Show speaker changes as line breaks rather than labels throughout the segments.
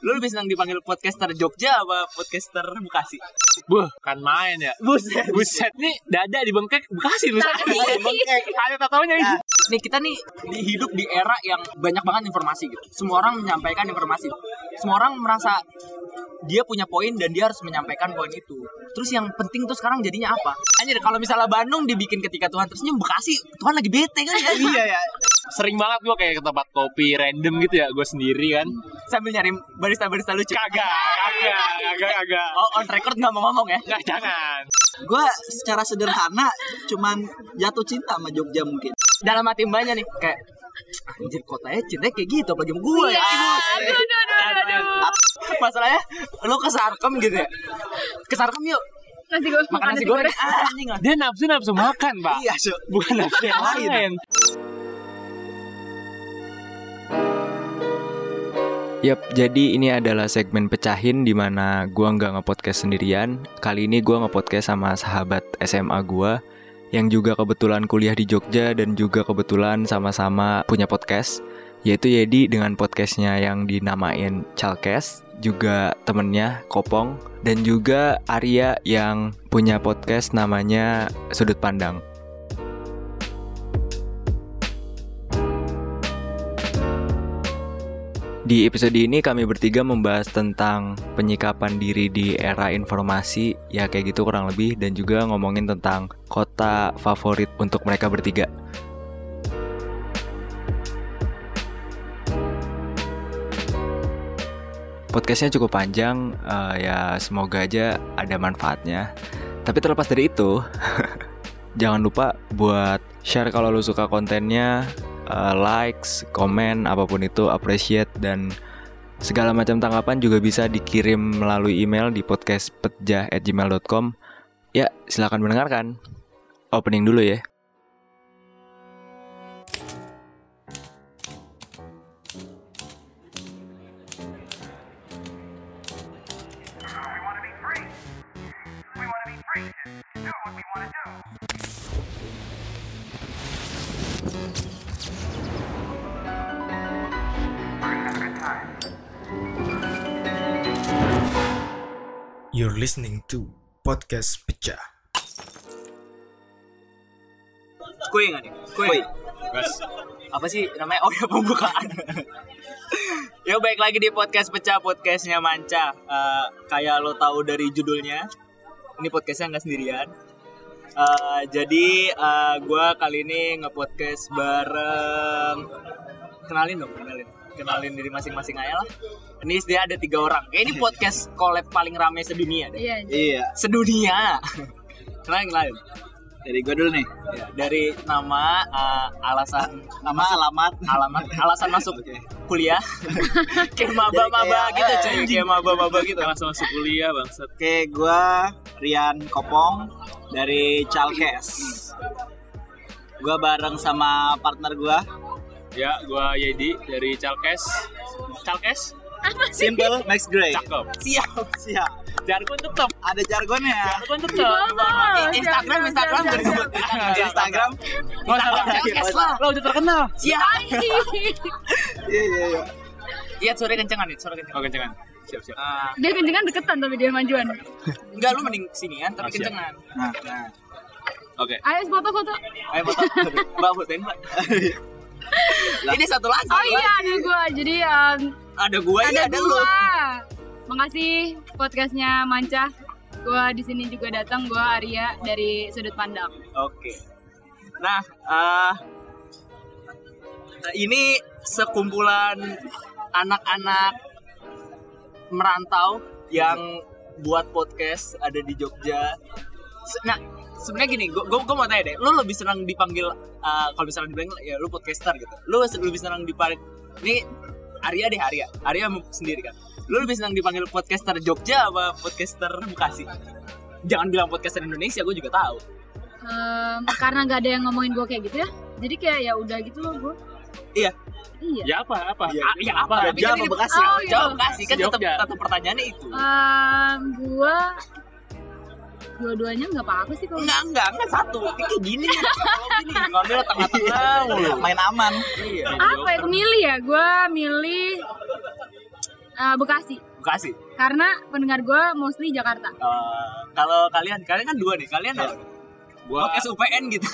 Lu lebih senang dipanggil podcaster Jogja apa podcaster Bekasi?
Buh, kan main ya.
Buset.
Buset nih dada di bengkek Bekasi lu.
Tadi.
Ada tatonya ini.
Nah, nih kita nih di- hidup di era yang banyak banget informasi gitu. Semua orang menyampaikan informasi. Semua orang merasa dia punya poin dan dia harus menyampaikan poin itu. Terus yang penting tuh sekarang jadinya apa? Anjir kalau misalnya Bandung dibikin ketika Tuhan terus nyem Bekasi, Tuhan lagi bete kan ya?
Iya ya. Sering banget gua kayak ke tempat kopi random gitu ya, gua sendiri kan.
Sambil nyari barista-barista lucu.
Kagak, kagak, kagak, kagak.
Oh, on record nggak mau ngomong ya?
Nggak, jangan.
Gue secara sederhana cuman jatuh cinta sama Jogja mungkin.
Dalam hati mbaknya nih kayak anjir kotanya cintanya kayak gitu apalagi sama gue ya.
Iya,
aduh, aduh, aduh, aduh.
Masalahnya lo ke Sarkem gitu ya. Ke Sarkem yuk
Nasi goreng,
makan nasi goreng. Ah, anjing lah.
Dia nafsu nafsu makan, Pak.
Iya, Su.
Bukan nafsu yang
Lain.
lain.
Yap, jadi ini adalah segmen pecahin di mana gua nggak ngepodcast sendirian. Kali ini gua ngepodcast sama sahabat SMA gua yang juga kebetulan kuliah di Jogja dan juga kebetulan sama-sama punya podcast yaitu Yedi dengan podcastnya yang dinamain Chalkes juga temennya Kopong dan juga Arya yang punya podcast namanya Sudut Pandang Di episode ini kami bertiga membahas tentang penyikapan diri di era informasi ya kayak gitu kurang lebih dan juga ngomongin tentang kota favorit untuk mereka bertiga. Podcastnya cukup panjang eh, ya semoga aja ada manfaatnya. Tapi terlepas dari itu jangan lupa buat share kalau lu suka kontennya eh, likes, komen, apapun itu, appreciate dan segala macam tanggapan juga bisa dikirim melalui email di podcastpetja@gmail.com. Ya, silakan mendengarkan. Opening dulu ya.
You're listening to Podcast Pecah.
Kue nggak nih? Kue. Apa sih namanya? Oh ya pembukaan. Yo baik lagi di podcast pecah podcastnya Manca. Eh, kayak lo tahu dari judulnya, ini podcastnya nggak sendirian. Eh, jadi eh, gua kali ini ngepodcast bareng. Kenalin dong, kenalin. Kenalin diri masing-masing aja lah. Ini dia ada tiga orang. Kayak ini podcast collab paling rame sedunia deh.
Iya,
Iya,
Sedunia. kenalin, kenalin.
dari gue dulu nih.
Ya, dari nama eh, alasan
Nama alamat.
alamat alasan masuk
Oke.
kuliah kayak maba maba
kayak,
gitu
eh,
cuy kayak maba maba gitu
Langsung masuk kuliah, bangsat.
Oke, gue Rian Kopong dari Chalkes. Gue bareng sama partner gue.
Ya, gua Yedi dari Chalkes. Chalkes?
Simple Max Gray.
Cakep.
Siap, siap.
Jargon tetep,
Ada jargonnya.
jargon tetep.
Gitu.
iya.
Instagram Instagram gitu. jangan sebut
Instagram.
Nggak usah,
Chalkes lah.
Lo udah terkenal.
siap
Iya, iya, iya.
iya sore kencengan nih sore kencengan
Oke, jangan. Oh, Siap, siap.
Ah,
Dia kencengan deketan tapi dia majuan.
enggak lu mending sinian tapi
Oh, siap.
kencengan
Nah, nah.
Oke.
Ayo foto-foto.
ayo foto mbak fotoin mbak ini satu lagi
Oh iya, ada gua. Jadi um,
ada gua
ada
iya ada lu
gua. Makasih podcastnya Manca. Gua di sini juga datang. Gua Arya dari sudut pandang.
Oke. Nah, eh, ini sekumpulan anak-anak merantau yang buat podcast ada di Jogja. Se- Nah, sebenarnya gini, gue mau tanya deh, lu lebih senang dipanggil eh, kalau misalnya dibilang ya lu podcaster gitu. Lu se- lebih senang dipanggil ini Arya deh Arya, Arya m- sendiri kan. Lu lebih senang dipanggil podcaster Jogja apa podcaster Bekasi? Jangan bilang podcaster Indonesia, gue juga tahu.
Em, karena gak ada yang ngomongin gua kayak gitu ya. Jadi kayak ya udah gitu loh gua.
Iya.
Iya.
Ya apa? Apa?
Ya, ya apa? Tapi
Jogja
kan
apa
ini-
Bekasi?
Oh, iya.
Jawab Bekasi kan tetap
Jogja.
satu pertanyaannya itu.
Em, gua dua-duanya nggak apa-apa sih kalau
Enggak, enggak, enggak satu. Kayak gini nih. kalau gini ngambil tengah-tengah mulu.
Main aman.
Iya.
apa ya milih ya gue milih eh ya? eh, Bekasi
Bekasi.
karena pendengar gue mostly Jakarta.
Eh, kalau kalian, kalian kan dua nih. Kalian apa?
Iya. Gua
Podcast UPN gitu.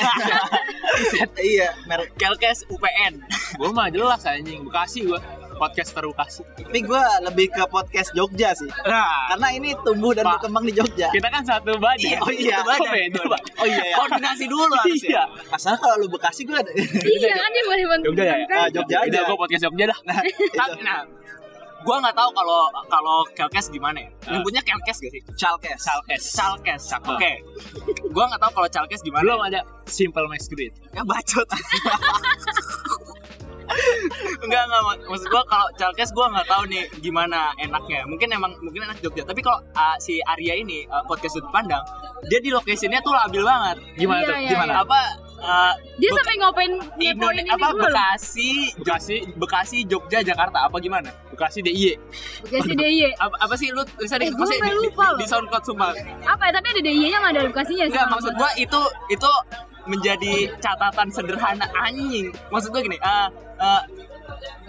iya merek
Kelkes UPN.
gua mah jelas anjing Bekasi gua podcast terukasi.
tapi gue lebih ke podcast Jogja sih
Nah,
karena ini tumbuh dan
Pak.
berkembang di Jogja
kita kan satu badan.
Oh iya.
Kok beda, Pak?
oh iya ya.
Koordinasi dulu
Iya.
harusnya.
asal kalau lu Bekasi gue ada
iya kan dia boleh bantu.
Jogja ya?
kan?
Ah, Jogja
Udah
aja
gua podcast Jogja dah.
Tapi, nah, gua nggak tahu kalau kalau Kelkes gimana ya. Nyebutnya Kelkes gak sih?
Chalkes
Calkes. Calkes. Oke. Gua nggak tahu kalau Calkes gimana.
Belum ada Simple Max Grid.
Ya bacot. enggak enggak mak- maksud gua kalau Calkes gua nggak tahu nih gimana enaknya. Mungkin emang mungkin enak Jogja, tapi kalau uh, si Arya ini uh, podcast sudut pandang, dia di lokasinya tuh labil banget.
Gimana
Iya,
tuh?
iya,
Gimana?
iya.
Apa uh,
Dia
Bek-
sampai ngopain ngepoin
Indonesia
ini
apa
gue loh.
Bekasi,
Bekasi,
Bekasi, Jogja, Jakarta apa gimana?
Bekasi DIY.
Bekasi DIY.
Apa, apa sih lu tulisan di-
Eh, gua
pasti
sampai
di-
lupa
di, di
loh.
SoundCloud sumpah.
Apa ya? Tapi ada DIY-nya sama ada Bekasinya sih.
Enggak
kalau
maksud
nggak
gua itu itu menjadi catatan sederhana anjing. Maksud gua gini, eh eh,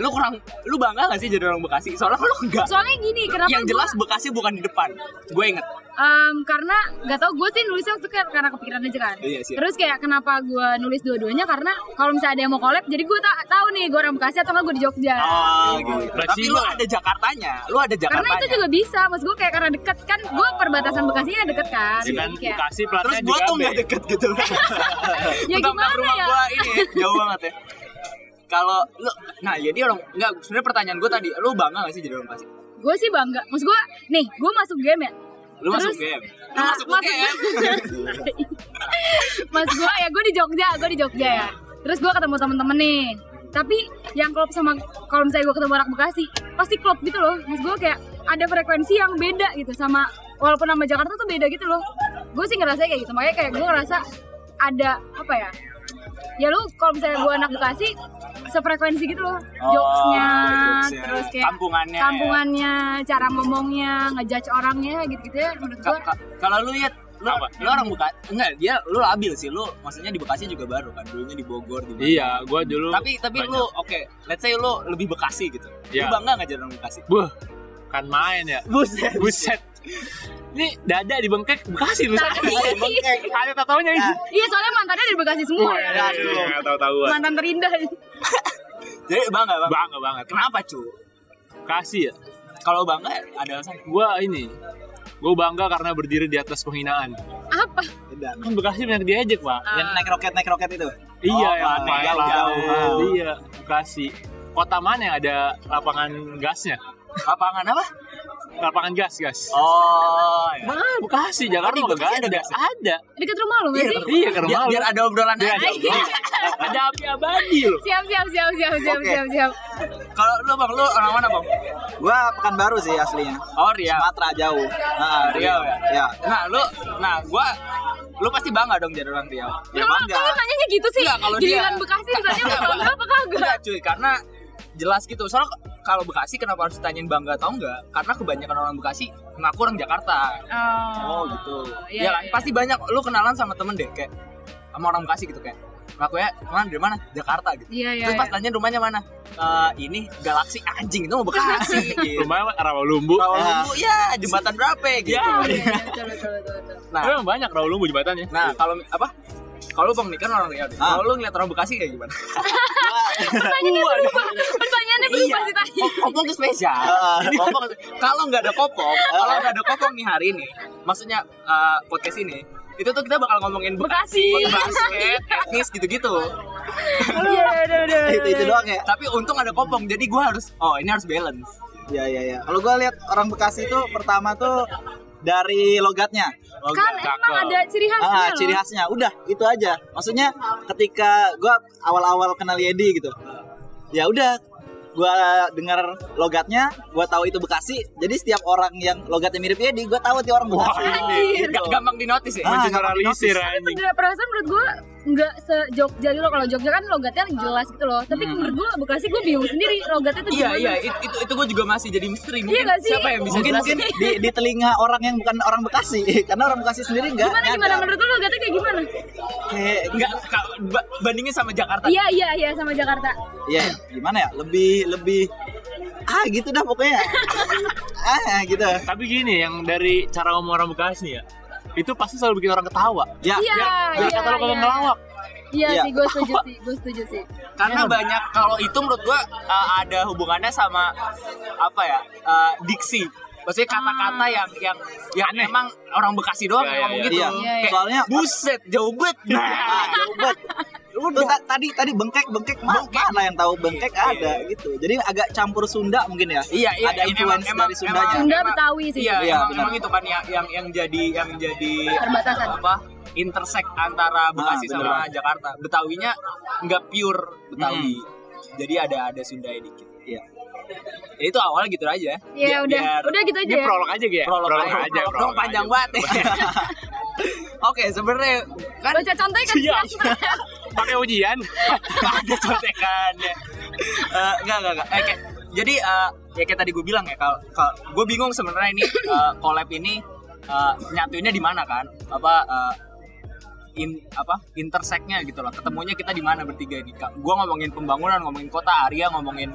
lu kurang lu bangga gak sih jadi orang Bekasi? Soalnya lu enggak.
salah. Soalnya gini, kenapa
Yang
gua-
jelas Bekasi bukan di depan. Gue inget.
Em, karena nggak tau gue sih nulisnya waktu kayak karena kepikiran aja kan.
Iya, siap.
Terus kayak kenapa gue nulis dua-duanya karena kalau misalnya ada yang mau collab, jadi gue ta- tahu nih gue orang Bekasi atau nggak gue di Jogja. Oh,
Ah, gitu. Tapi lu
Fleksibel.
ada Jakartanya. Lu ada Jakartanya.
karena itu juga bisa, maksud gue kayak karena deket kan, gue perbatasan Bekasinya deket kan.
Dengan
Jadi
Iya.
kayak,
Bekasi platnya
Terus
juga
gue tuh
B.
gak deket gitu.
ya
Bentar-bentar
gimana
rumah
ya?
Gua ini ya, jauh banget ya. Kalau lu nah jadi orang enggak sebenarnya pertanyaan gue tadi, lu bangga gak sih jadi orang Bekasi?
Gue sih bangga, maksud gue, nih gue masuk game ya,
Lu masuk
Terus-
game. Lu
Ah,
masuk
maksud
game.
Mas gue ya gue di Jogja, gue di Jogja ya. Terus gue ketemu temen-temen nih. Tapi yang klop sama kalau misalnya gue ketemu anak Bekasi, pasti klop gitu loh. Mas gue kayak ada frekuensi yang beda gitu sama walaupun sama Jakarta tuh beda gitu loh. Gue sih ngerasa kayak gitu. Makanya kayak gue ngerasa ada apa ya? Ya lu kalau misalnya gue anak Bekasi sefrekuensi gitu loh.
Oh,
jokesnya,
jokesnya.
terus kayak
kampungannya. ya.
kampungannya, cara ngomongnya, ngejudge orangnya gitu-gitu ya menurut gue.
Ka- ka- Kalau lu lihat lu,
Apa?
lu orang Bekasi enggak dia lu labil sih lu maksudnya di Bekasi juga baru kan dulunya di Bogor di mana.
Iya, gua dulu.
tapi tapi lu oke let's say lu lebih Bekasi gitu
Iya.
lu bangga nggak jadi orang Bekasi
Buh, kan main ya.
buset
Buset. Ini dada di bengkek Bekasi lu sana. Ada tatonya
Nah,
ini.
Iya soalnya mantannya dari Bekasi semua
Oh, Iya,
ya.
tahu-tahuan.
Mantan terindah.
jadi bangga bangga
Bangga banget.
kenapa cu
Bekasi ya.
kalau bangga ada alasan
Gua ini Gua bangga karena berdiri di atas penghinaan.
Apa?
dan
Kan Bekasi banyak diejek, Pak.
yang naik roket naik roket itu
Ah.
iya,
Oh,
yang
Pak,
main
jauh-jauh.
lapangan. Iya, Bekasi. Kota mana yang ada lapangan gasnya?
lapangan apa
Lapangan gas, gas.
oh iya.
Mana Bekasi, Jakarta
di
juga
Bekasi
ada.
ada gas ya?
Ada.
Dekat rumah lu nggak sih?
Iya, ke rumah
biar,
lu.
biar ada Iya. obrolan
Biar
aja.
ada obrolan. Ada api abadi loh.
Siap siap siap siap siap
Oke.
siap siap.
kalau lu bang lu orang mana bang
gue pekanbaru sih aslinya
oh Riau
Sumatera jauh nah,
Riau ya?
ya
nah lu nah gua lu pasti bangga dong jadi orang Riau
ya
Kalau
bangga
kalau nanyanya gitu sih.
Enggak, kalau dia-
Giliran Bekasi ditanya mau bangga apa kagak?
Enggak cuy, karena jelas gitu. Soalnya k- kalau Bekasi kenapa harus ditanyain bangga atau enggak? Karena kebanyakan orang Bekasi ngaku orang Jakarta.
Oh,
gitu.
iya,
Iya kan?
iya.
Pasti banyak lu kenalan sama temen deh kayak sama orang Bekasi gitu kayak. Ngaku ya, mana dari mana? Jakarta gitu.
Iya iya.
Terus pas
iya.
tanya rumahnya mana? Eh, ini Galaksi anjing itu mau Bekasi gitu.
Rumahnya Rawalumbu.
Rawalumbu ya jembatan berapa gitu.
Iya, iya, betul, betul, betul, betul.
Nah,
Tapi emang banyak Rawalumbu jembatannya.
nah kalau apa? Kalau Bang nih kan orang Riau. deh.
Ah.
Kalau lu ngeliat orang Bekasi kayak gimana?
Pertanyaannya berubah. Pertanyaannya berubah sih tadi.
Kopong tuh spesial.
Ah,
Ini kopong. Kalau nggak ada kopong, kalau nggak ada kopong nih hari ini, maksudnya eh, podcast ini, itu tuh kita bakal ngomongin
Bekasi.
basket, etnis gitu-gitu.
Iya udah udah.
itu itu doang ya
Tapi untung ada kopong, jadi gue harus, oh ini harus balance.
ya ya ya kalau gue lihat orang Bekasi itu pertama tuh dari logatnya
Oh,
Kan
enggak.
emang ada ciri khasnya.
ah
loh.
ciri khasnya udah itu aja maksudnya ketika gue awal-awal kenal Yedi gitu ya udah gue dengar logatnya gue tahu itu Bekasi jadi setiap orang yang logatnya mirip Yedi gue tahu dia orang Bekasi Gitu.
Anjir.
Gak- gampang dinotis ya.
iya Ah,
Generalisir anjing.
Bener, perasaan menurut gue nggak se Jogja gitu loh kalau Jogja kan logatnya jelas gitu loh tapi menurut gue Bekasi gue bingung sendiri logatnya tuh
Iya
gimana.
iya it- itu itu gue juga masih jadi misteri mungkin
nggak sih?
siapa yang bisa
Iya mungkin mungkin
jelasin?
di, di telinga orang yang bukan orang Bekasi karena orang Bekasi sendiri nggak
gimana gimana
nyadar.
menurut lu logatnya kayak gimana
kayak
Enggak, ka- ba- bandingin sama Jakarta.
iya iya iya sama Jakarta
ya gimana ya lebih lebih ah gitu dah pokoknya ah gitu
Tapi gini yang dari cara ngomong orang Bekasi ya itu pasti selalu bikin orang ketawa.
ya
Iya,
Jangan
iya,
kata lu kalau
iya.
ngelawak.
Iya
Iya.
sih, gue setuju sih, gue setuju sih.
karena banyak kalau itu menurut gua uh, ada hubungannya sama apa ya uh, diksi maksudnya kata-kata yang yang yang emang orang Bekasi doang yang
Iya, iya,
ngomong
iya.
gitu
iya
Iya, iya.
soalnya
buset jauh banget
ah,
nah
coba Tuh, ta- tadi tadi bengkek bengkek ma- mana yang tahu bengkek ada gitu jadi agak campur Sunda mungkin ya
iya iya
Ada
iya,
influence dari Sundanya.
Sunda
emang-
Betawi sih.
iya,
Ah, Iya,
emang,
benar.
emang itu kan yang yang yang jadi yang jadi
Perbatasan.
apa intersect antara Bekasi
benar.
sama Jakarta Betawinya nggak pure Betawi jadi ada ada Sunda dikit
Iya.
Ya, itu awalnya gitu aja
Iya,
Biar-
udah,
biar-
udah gitu aja
Ini
ya.
prolog aja gitu ya.
Iya. prolog, aja, prolog
prolog
dong, panjang
aja.
banget. Oke, sebenarnya kan
Baca contekan sih.
Iya.
sebenarnya.
Pakai ujian.
ada contekannya. Eh, Enggak, enggak, enggak. Eh, kayak- jadi eh, ya kayak tadi gue bilang ya kalau gue bingung sebenarnya ini eh, collab ini eh, nyatuinnya di mana kan? Apa eh, in apa intersectnya gitu loh ketemunya kita di mana bertiga ini Kak? gue ngomongin pembangunan ngomongin kota Arya ngomongin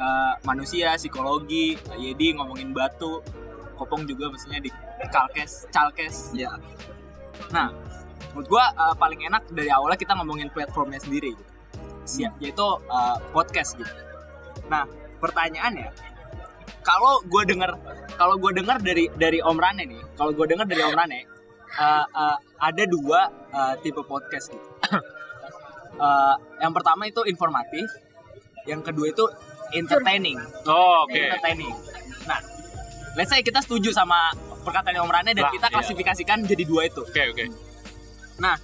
eh, manusia psikologi Kak Yedi ngomongin batu Kopong juga maksudnya di Kalkes Calkes
ya
Nah, menurut gua uh, paling enak dari awalnya kita ngomongin platformnya sendiri gitu. Siap, yaitu uh, podcast gitu. Nah, pertanyaannya kalau gua denger kalau gua denger dari dari Om Rane nih, kalau gua denger dari Om Rane uh, uh, ada dua uh, tipe podcast gitu. Uh, yang pertama itu informatif, yang kedua itu entertaining
Oh, oke.
entertaining. Nah, let's say kita setuju sama perkataan Om Rane dan
Lah,
kita
iya.
klasifikasikan jadi dua itu.
Oke, oke.
Nah,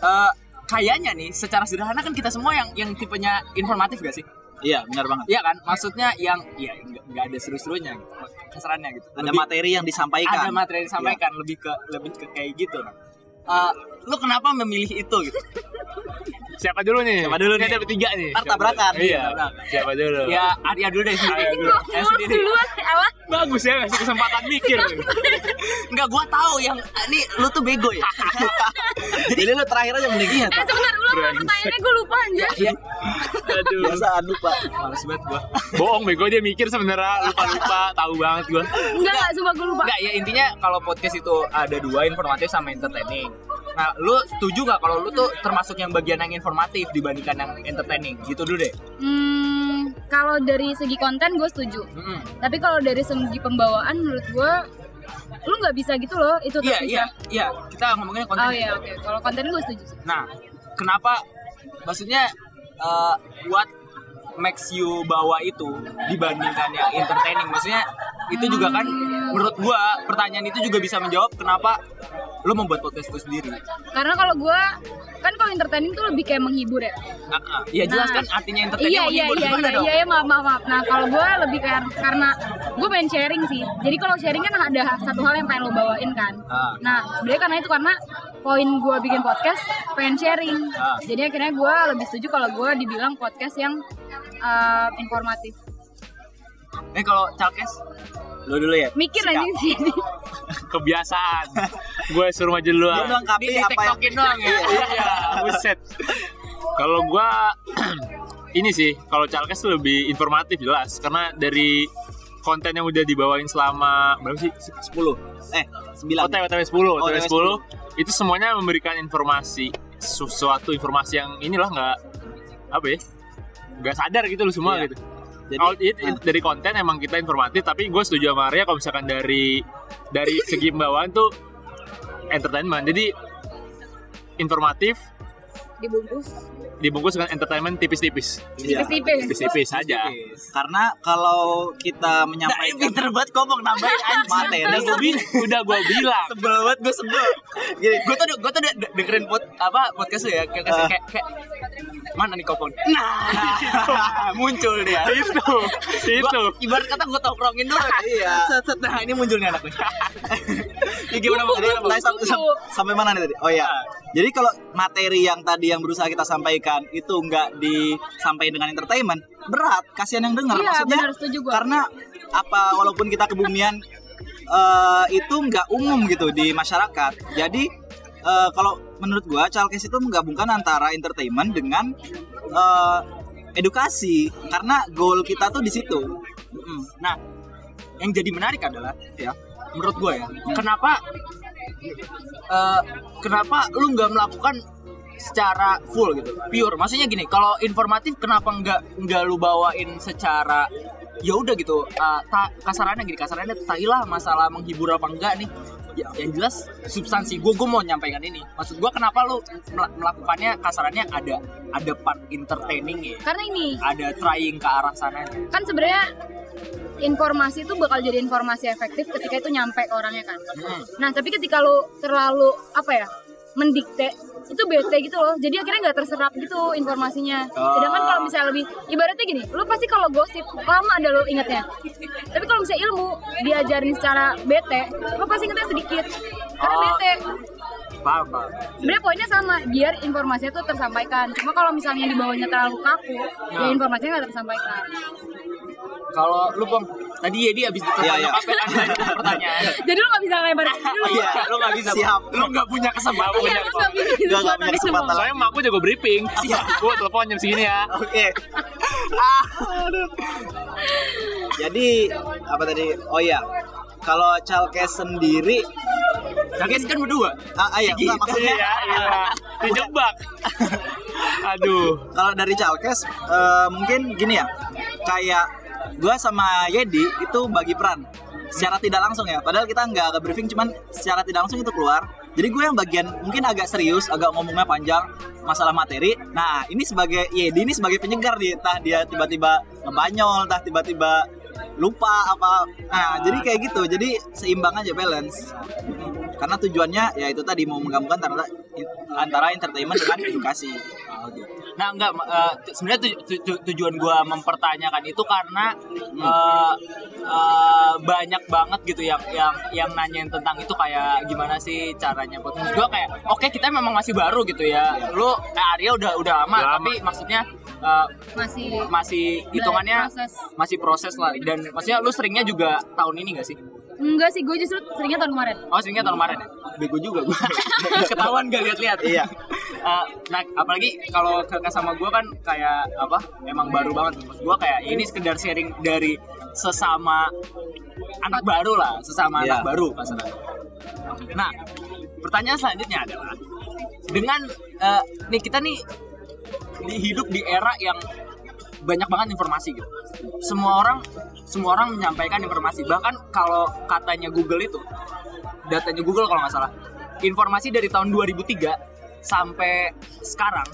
eh, kayaknya nih secara sederhana kan kita semua yang yang tipenya informatif gak sih?
iya benar banget
Iya kan? Maksudnya yang ya nggak nggak ada seru-serunya gitu. Kesarannya gitu.
ada
Lebih-
materi yang disampaikan
ada materi yang disampaikan lebih ke lebih ke kayak gitu. Nah, Eh, lu kenapa memilih itu gitu?
Siapa dulu nih?
Siapa dulu
Ini
nih?
Ada bertiga nih.
Ntar tabrakan.
Iya.
Tabrakan.
Siapa dulu?
ya Arya dulu deh sendiri.
Arya dulu.
Ya,
Gue
sendiri.
duluan, Eh, apa?
Bagus ya ngasih kesempatan mikir.
Enggak gua tahu yang ini lu tuh bego ya.
jadi lu terakhir aja mending iya
Eh sebentar, ulang pertanyaannya gue lupa anjir.
Aduh.
biasaan lupa
Males banget gua.
Bohong bego dia mikir sebenarnya lupa-lupa, tahu banget gua.
Enggak, enggak, sumpah gue lupa.
Enggak ya intinya kalau podcast itu ada dua informatif sama entertaining. Nah, lu setuju nggak kalau lu tuh termasuk yang bagian yang informatif dibandingkan yang entertaining? Gitu dulu deh.
Hmm, kalau dari segi konten gue setuju.
Mm-mm.
Tapi kalau dari segi pembawaan menurut gue lu nggak bisa gitu loh itu
Iya,
terpisah.
iya, iya. Kita ngomongin konten.
Oh iya oke, kalau konten gue setuju sih.
Nah, kenapa maksudnya eh, what makes you bawa itu dibandingkan yang entertaining? Maksudnya itu juga kan menurut gua pertanyaan itu juga bisa menjawab kenapa lu membuat podcast itu sendiri.
Karena kalau gue kan kalau entertaining tuh lebih kayak menghibur ya.
Nah, ah, ya jelas
Nah.
kan artinya entertaining
Iya iya
menghibur.
iya
Gimana
iya
dong?
iya iya, maaf maaf maaf. Nah kalau gue lebih kayak karena gue pengen sharing sih. Jadi kalau sharing kan ada satu hal yang pengen lo bawain kan.
Ah.
Nah sebenarnya karena itu karena poin gue bikin podcast pengen sharing.
Ah.
Jadi akhirnya gue lebih setuju kalau gue dibilang podcast yang eh, informatif.
Ini kalau calkes
lu dulu ya
Mikir aja di sini.
Kebiasaan. Gue suruh maju
lu
duluan.
lengkapi
di
apa yang
tiktokin doang ya
Iya, buset. Kalau gua ini sih, kalau Calkes tuh lebih informatif jelas karena dari konten yang udah dibawain selama berapa sih?
10 eh 9
OTW OTW 10,
Oh,
OTW 10,
OTW
itu semuanya memberikan informasi sesuatu informasi yang inilah nggak apa ya? nggak sadar gitu loh semua
Iya.
gitu.
Jadi-
oh,
Kalau it-
ah.
dari konten emang kita informatif, tapi gue setuju sama Arya kalau misalkan dari dari segi pembawaan tuh entertainment. Jadi informatif,
Dibungkus.
dibungkus dengan entertainment tipis-tipis.
Iya.
Tipis-tipis.
Tipis-tipis aja.
karena kalau
nah
kita
ini
menyampaikan
pinter banget ngomong nambahin anjing
Udah
materi
gue bilang, udah gue bilang.
sebel banget gue sebel gini gue tuh gue tuh de- de- dengerin pod apa podcast lu ya kayak
Ah.
kayak, kayak, kayak mana nih kopong nah muncul dia
itu, itu.
Gua, ibarat kata gue tongkrongin dulu
Iya.
Set, set, nah ini munculnya anak gue ya gimana bang
Jadi,
gimana
tadi
bang
sam- sam- sampai mana nih tadi? Oh ya.
Nah.
Jadi kalau materi yang tadi yang berusaha kita sampaikan itu nggak disampaikan dengan entertainment, berat, kasihan yang dengar
Iya,
maksudnya.
benar, setuju gua.
Karena apa walaupun kita kebumian eh, itu nggak umum gitu di masyarakat. Jadi eh, kalau menurut gua Chalkes itu menggabungkan antara entertainment dengan eh, edukasi karena goal kita tuh di situ.
Mm-mm. Nah, yang jadi menarik adalah ya, menurut gue ya, kenapa eh, kenapa lu nggak melakukan secara full gitu, pure. Maksudnya gini, kalau informatif kenapa nggak nggak lu bawain secara ya udah gitu eh, ta- kasarannya gini kasarannya tahilah masalah menghibur apa enggak nih Ya, yang jelas substansi gue gue mau nyampaikan ini maksud gue kenapa lu mel- melakukannya kasarannya ada ada part entertaining ya
Karena ini
ada trying ke arah sana
kan sebenarnya informasi itu bakal jadi informasi efektif ketika itu nyampe ke orangnya kan.
Hmm.
Nah tapi ketika lu terlalu apa ya mendikte itu bete gitu loh. Jadi akhirnya nggak terserap gitu informasinya.
Oh.
Sedangkan kalau misalnya lebih ibaratnya gini, lu pasti kalau gosip lama ada lu ingetnya. Tapi kalau misalnya ilmu diajarin secara bete, lu pasti ingetnya sedikit. Karena
Oh.
bete.
paham paham
Sebenarnya poinnya sama, biar informasinya tuh tersampaikan. Cuma kalau misalnya di bawahnya terlalu kaku, ya
Nah.
informasinya nggak tersampaikan.
kalau lu pong tadi Yedi abis ditanya
Iya, iya.
apa ada pertanyaan
Jadi lu nggak bisa lebar dulu.
Iya,
lu nggak bisa
Siap.
Bang. lu nggak punya kesempatan
Iya, terus nggak bisa
Nggak, nggak punya
Habis itu
kesempatan.
Soalnya emak gue jago briefing. gue telepon jam segini ya.
Oke. Ah, aduh. Jadi apa tadi? Oh iya. Kalau Chalkes sendiri,
Chalkes kan berdua
ah, ah ya, enggak, maksudnya
Iya, iya. Dijebak. Aduh.
kalau dari Chalkes eh, mungkin gini ya. Kayak gua sama Yedi itu bagi peran secara tidak langsung ya. Padahal kita nggak ada briefing, cuman secara tidak langsung itu keluar. Jadi gue yang bagian mungkin agak serius, agak ngomongnya panjang masalah materi. Nah ini sebagai Yedi ini sebagai penyegar dia, entah dia tiba-tiba ngebanyol, entah tiba-tiba lupa apa. Nah jadi kayak gitu, jadi seimbang aja balance. Karena tujuannya ya itu tadi mau menggabungkan antara, antara entertainment dengan edukasi. Oh, gitu.
nah enggak ma- eh, tu- sebenarnya tu- tu- tu- tujuan gua mempertanyakan itu karena eh, eh, banyak banget gitu yang yang yang nanyain tentang itu kayak gimana sih caranya buat Maksud gua kayak oke kita memang masih baru gitu ya lu eh, Arya udah udah lama
Udah lama.
tapi maksudnya eh,
Masih
masih hitungannya
Nah, proses.
masih proses lah dan maksudnya lu seringnya juga tahun ini gak sih?
Enggak sih, gue justru seringnya tahun kemarin.
Oh seringnya tahun kemarin ya? Bego juga gue Ketahuan gak lihat-lihat
Iya.
Eh, Nah apalagi kalau kakak sama gue kan kayak apa Emang baru banget Maksud gue kayak ini sekedar sharing dari sesama anak baru lah Sesama
Iya.
anak baru kasarnya Nah pertanyaan selanjutnya adalah Dengan eh, nih kita nih di- hidup di era yang banyak banget informasi gitu. Semua orang semua orang menyampaikan informasi. Bahkan kalau katanya Google itu datanya Google kalau nggak salah. Informasi dari tahun 2003 sampai sekarang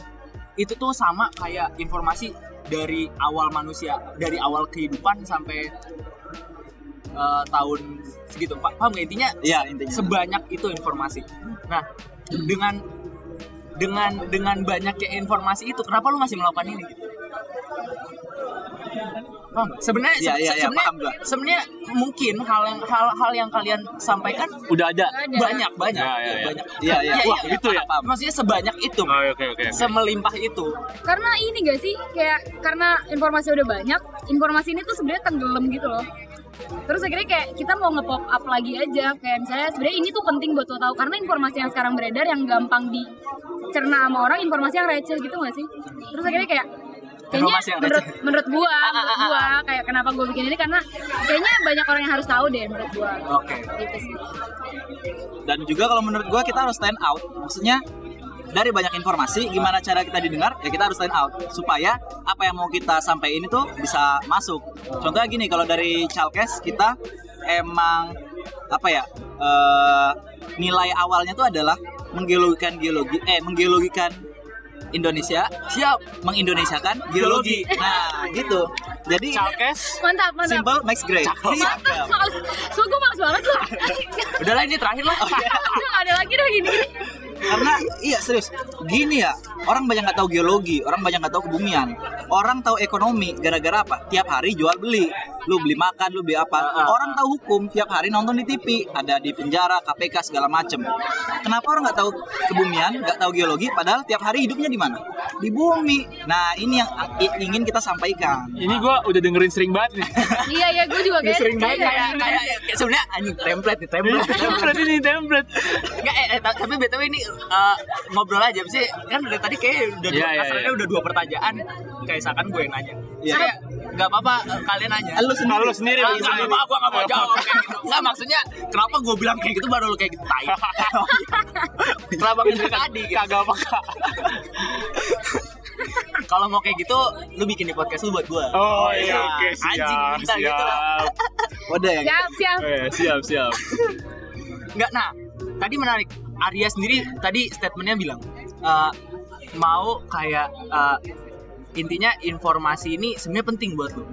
itu tuh sama kayak informasi dari awal manusia, dari awal kehidupan sampai eh, tahun segitu. Pa- Paham nggak intinya?
Iya intinya.
sebanyak itu informasi. Nah, dengan dengan dengan banyaknya informasi itu, kenapa lu masih melakukan ini? Paham nggak? Sebenarnya
Iya,
se-
iya,
se-
iya,
sebenarnya
paham gua.
sebenarnya mungkin hal yang hal hal yang kalian sampaikan
Udah ada.
Nggak ada.
banyak banyak
Ya, ya, ya.
banyak.
Iya, iya.
Wah, gitu ya?
paham. Maksudnya sebanyak itu,
Oh, Oke, oke, oke.
semelimpah itu.
Karena ini gak sih, kayak karena informasi udah banyak, informasi ini tuh sebenarnya tenggelam gitu loh. Terus akhirnya kayak kita mau nge-pop up lagi aja, kayak misalnya sebenarnya ini tuh penting buat lo tahu karena informasi yang sekarang beredar yang gampang dicerna sama orang, informasi yang receh gitu gak sih? Terus akhirnya kayak Kayaknya
Informasi yang
menurut,
receh. Ah,
menurut gua, menurut gua kayak kenapa gua bikin ini karena kayaknya banyak orang yang harus tahu deh menurut gua.
Oke.
Gitu sih.
Dan juga kalau menurut gua kita harus stand out. Maksudnya dari banyak informasi gimana cara kita didengar ya kita harus stand out supaya apa yang mau kita sampaikan itu bisa masuk. Contohnya gini kalau dari Chalkes kita emang apa ya eh, nilai awalnya tuh adalah menggeologikan geologi eh menggeologikan Indonesia siap mengindonesiakan geologi. Nah, gitu. Jadi
Chalkes.
Mantap, mantap.
simple makes great. Iya.
Mantap, males. So, gue males banget loh.
Udahlah ini terakhir lah.
Oh, iya,
Udah gak ada lagi dah gini-gini.
karena iya serius gini ya orang banyak nggak tahu geologi orang banyak nggak tahu kebumian orang tahu ekonomi gara-gara apa tiap hari jual beli lu beli makan lu beli apa orang tahu hukum tiap hari nonton di TV ada di penjara KPK segala macem kenapa orang nggak tahu kebumian nggak tahu geologi padahal tiap hari hidupnya di mana di bumi nah ini yang i- ingin kita sampaikan
Ini gue udah dengerin sering banget nih.
Iya, iya, gue juga kayak Iya,
Sering banget kayak kayak
iya.
kayak sebenarnya anjing template nih
Ini
template.
template ini template.
Nggak, eh, eh, ta- tapi btw ini eh, ngobrol aja sih kan dari tadi kayak udah dua,
Iya, iya,
kasarnya
iya.
udah dua pertanyaan kayak Kaisa kan gue yang nanya.
Iya.
Saya nggak apa-apa eh, kalian nanya.
Ah, lu sendiri.
Lu sendiri,
Ah,
lu
nggak
sendiri.
apa-apa, gue nggak mau jawab kayak gitu. Nggak maksudnya kenapa gue bilang kayak gitu baru lu kayak gitu tai. kenapa nggak dari tadi? gitu?
Kagak apa
Kalau mau kayak gitu, lu bikin di podcast lu buat gue.
Oh iya, oke
Anjing,
siap,
minta gitu lah.
siap.
Wadah ya.
siap siap
Oh, iya, siap, siap.
Nggak, nah tadi menarik. Arya sendiri tadi statementnya bilang eh, mau kayak eh, intinya informasi ini sebenarnya penting buat lu.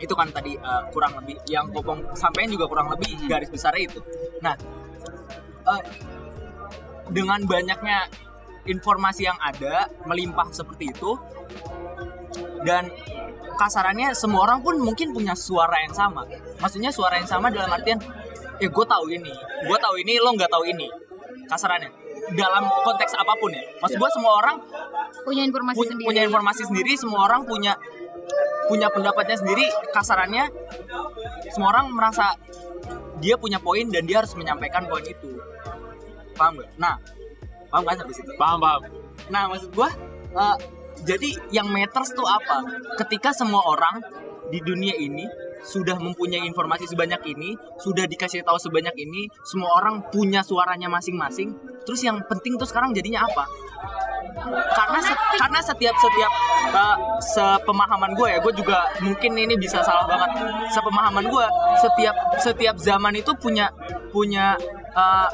Itu kan tadi eh, kurang lebih yang Kopong sampaikan juga kurang lebih garis besarnya itu. Nah, eh, dengan banyaknya informasi yang ada melimpah seperti itu dan kasarannya semua orang pun mungkin punya suara yang sama maksudnya suara yang sama dalam artian ya gue tahu ini gue tahu ini lo nggak tahu ini kasarannya dalam konteks apapun ya maksud gue semua orang
punya informasi
punya,
sendiri
punya informasi sendiri semua orang punya punya pendapatnya sendiri kasarannya semua orang merasa dia punya poin dan dia harus menyampaikan poin itu paham gak? nah paham kan sampai situ
Paham, paham.
Nah, maksud gua eh, jadi yang matters tuh apa? Ketika semua orang di dunia ini sudah mempunyai informasi sebanyak ini, sudah dikasih tahu sebanyak ini, semua orang punya suaranya masing-masing. Terus yang penting tuh sekarang jadinya apa? Karena se- karena setiap setiap eh, sepemahaman gue ya, gue juga mungkin ini bisa salah banget. Sepemahaman gue, setiap setiap zaman itu punya punya eh,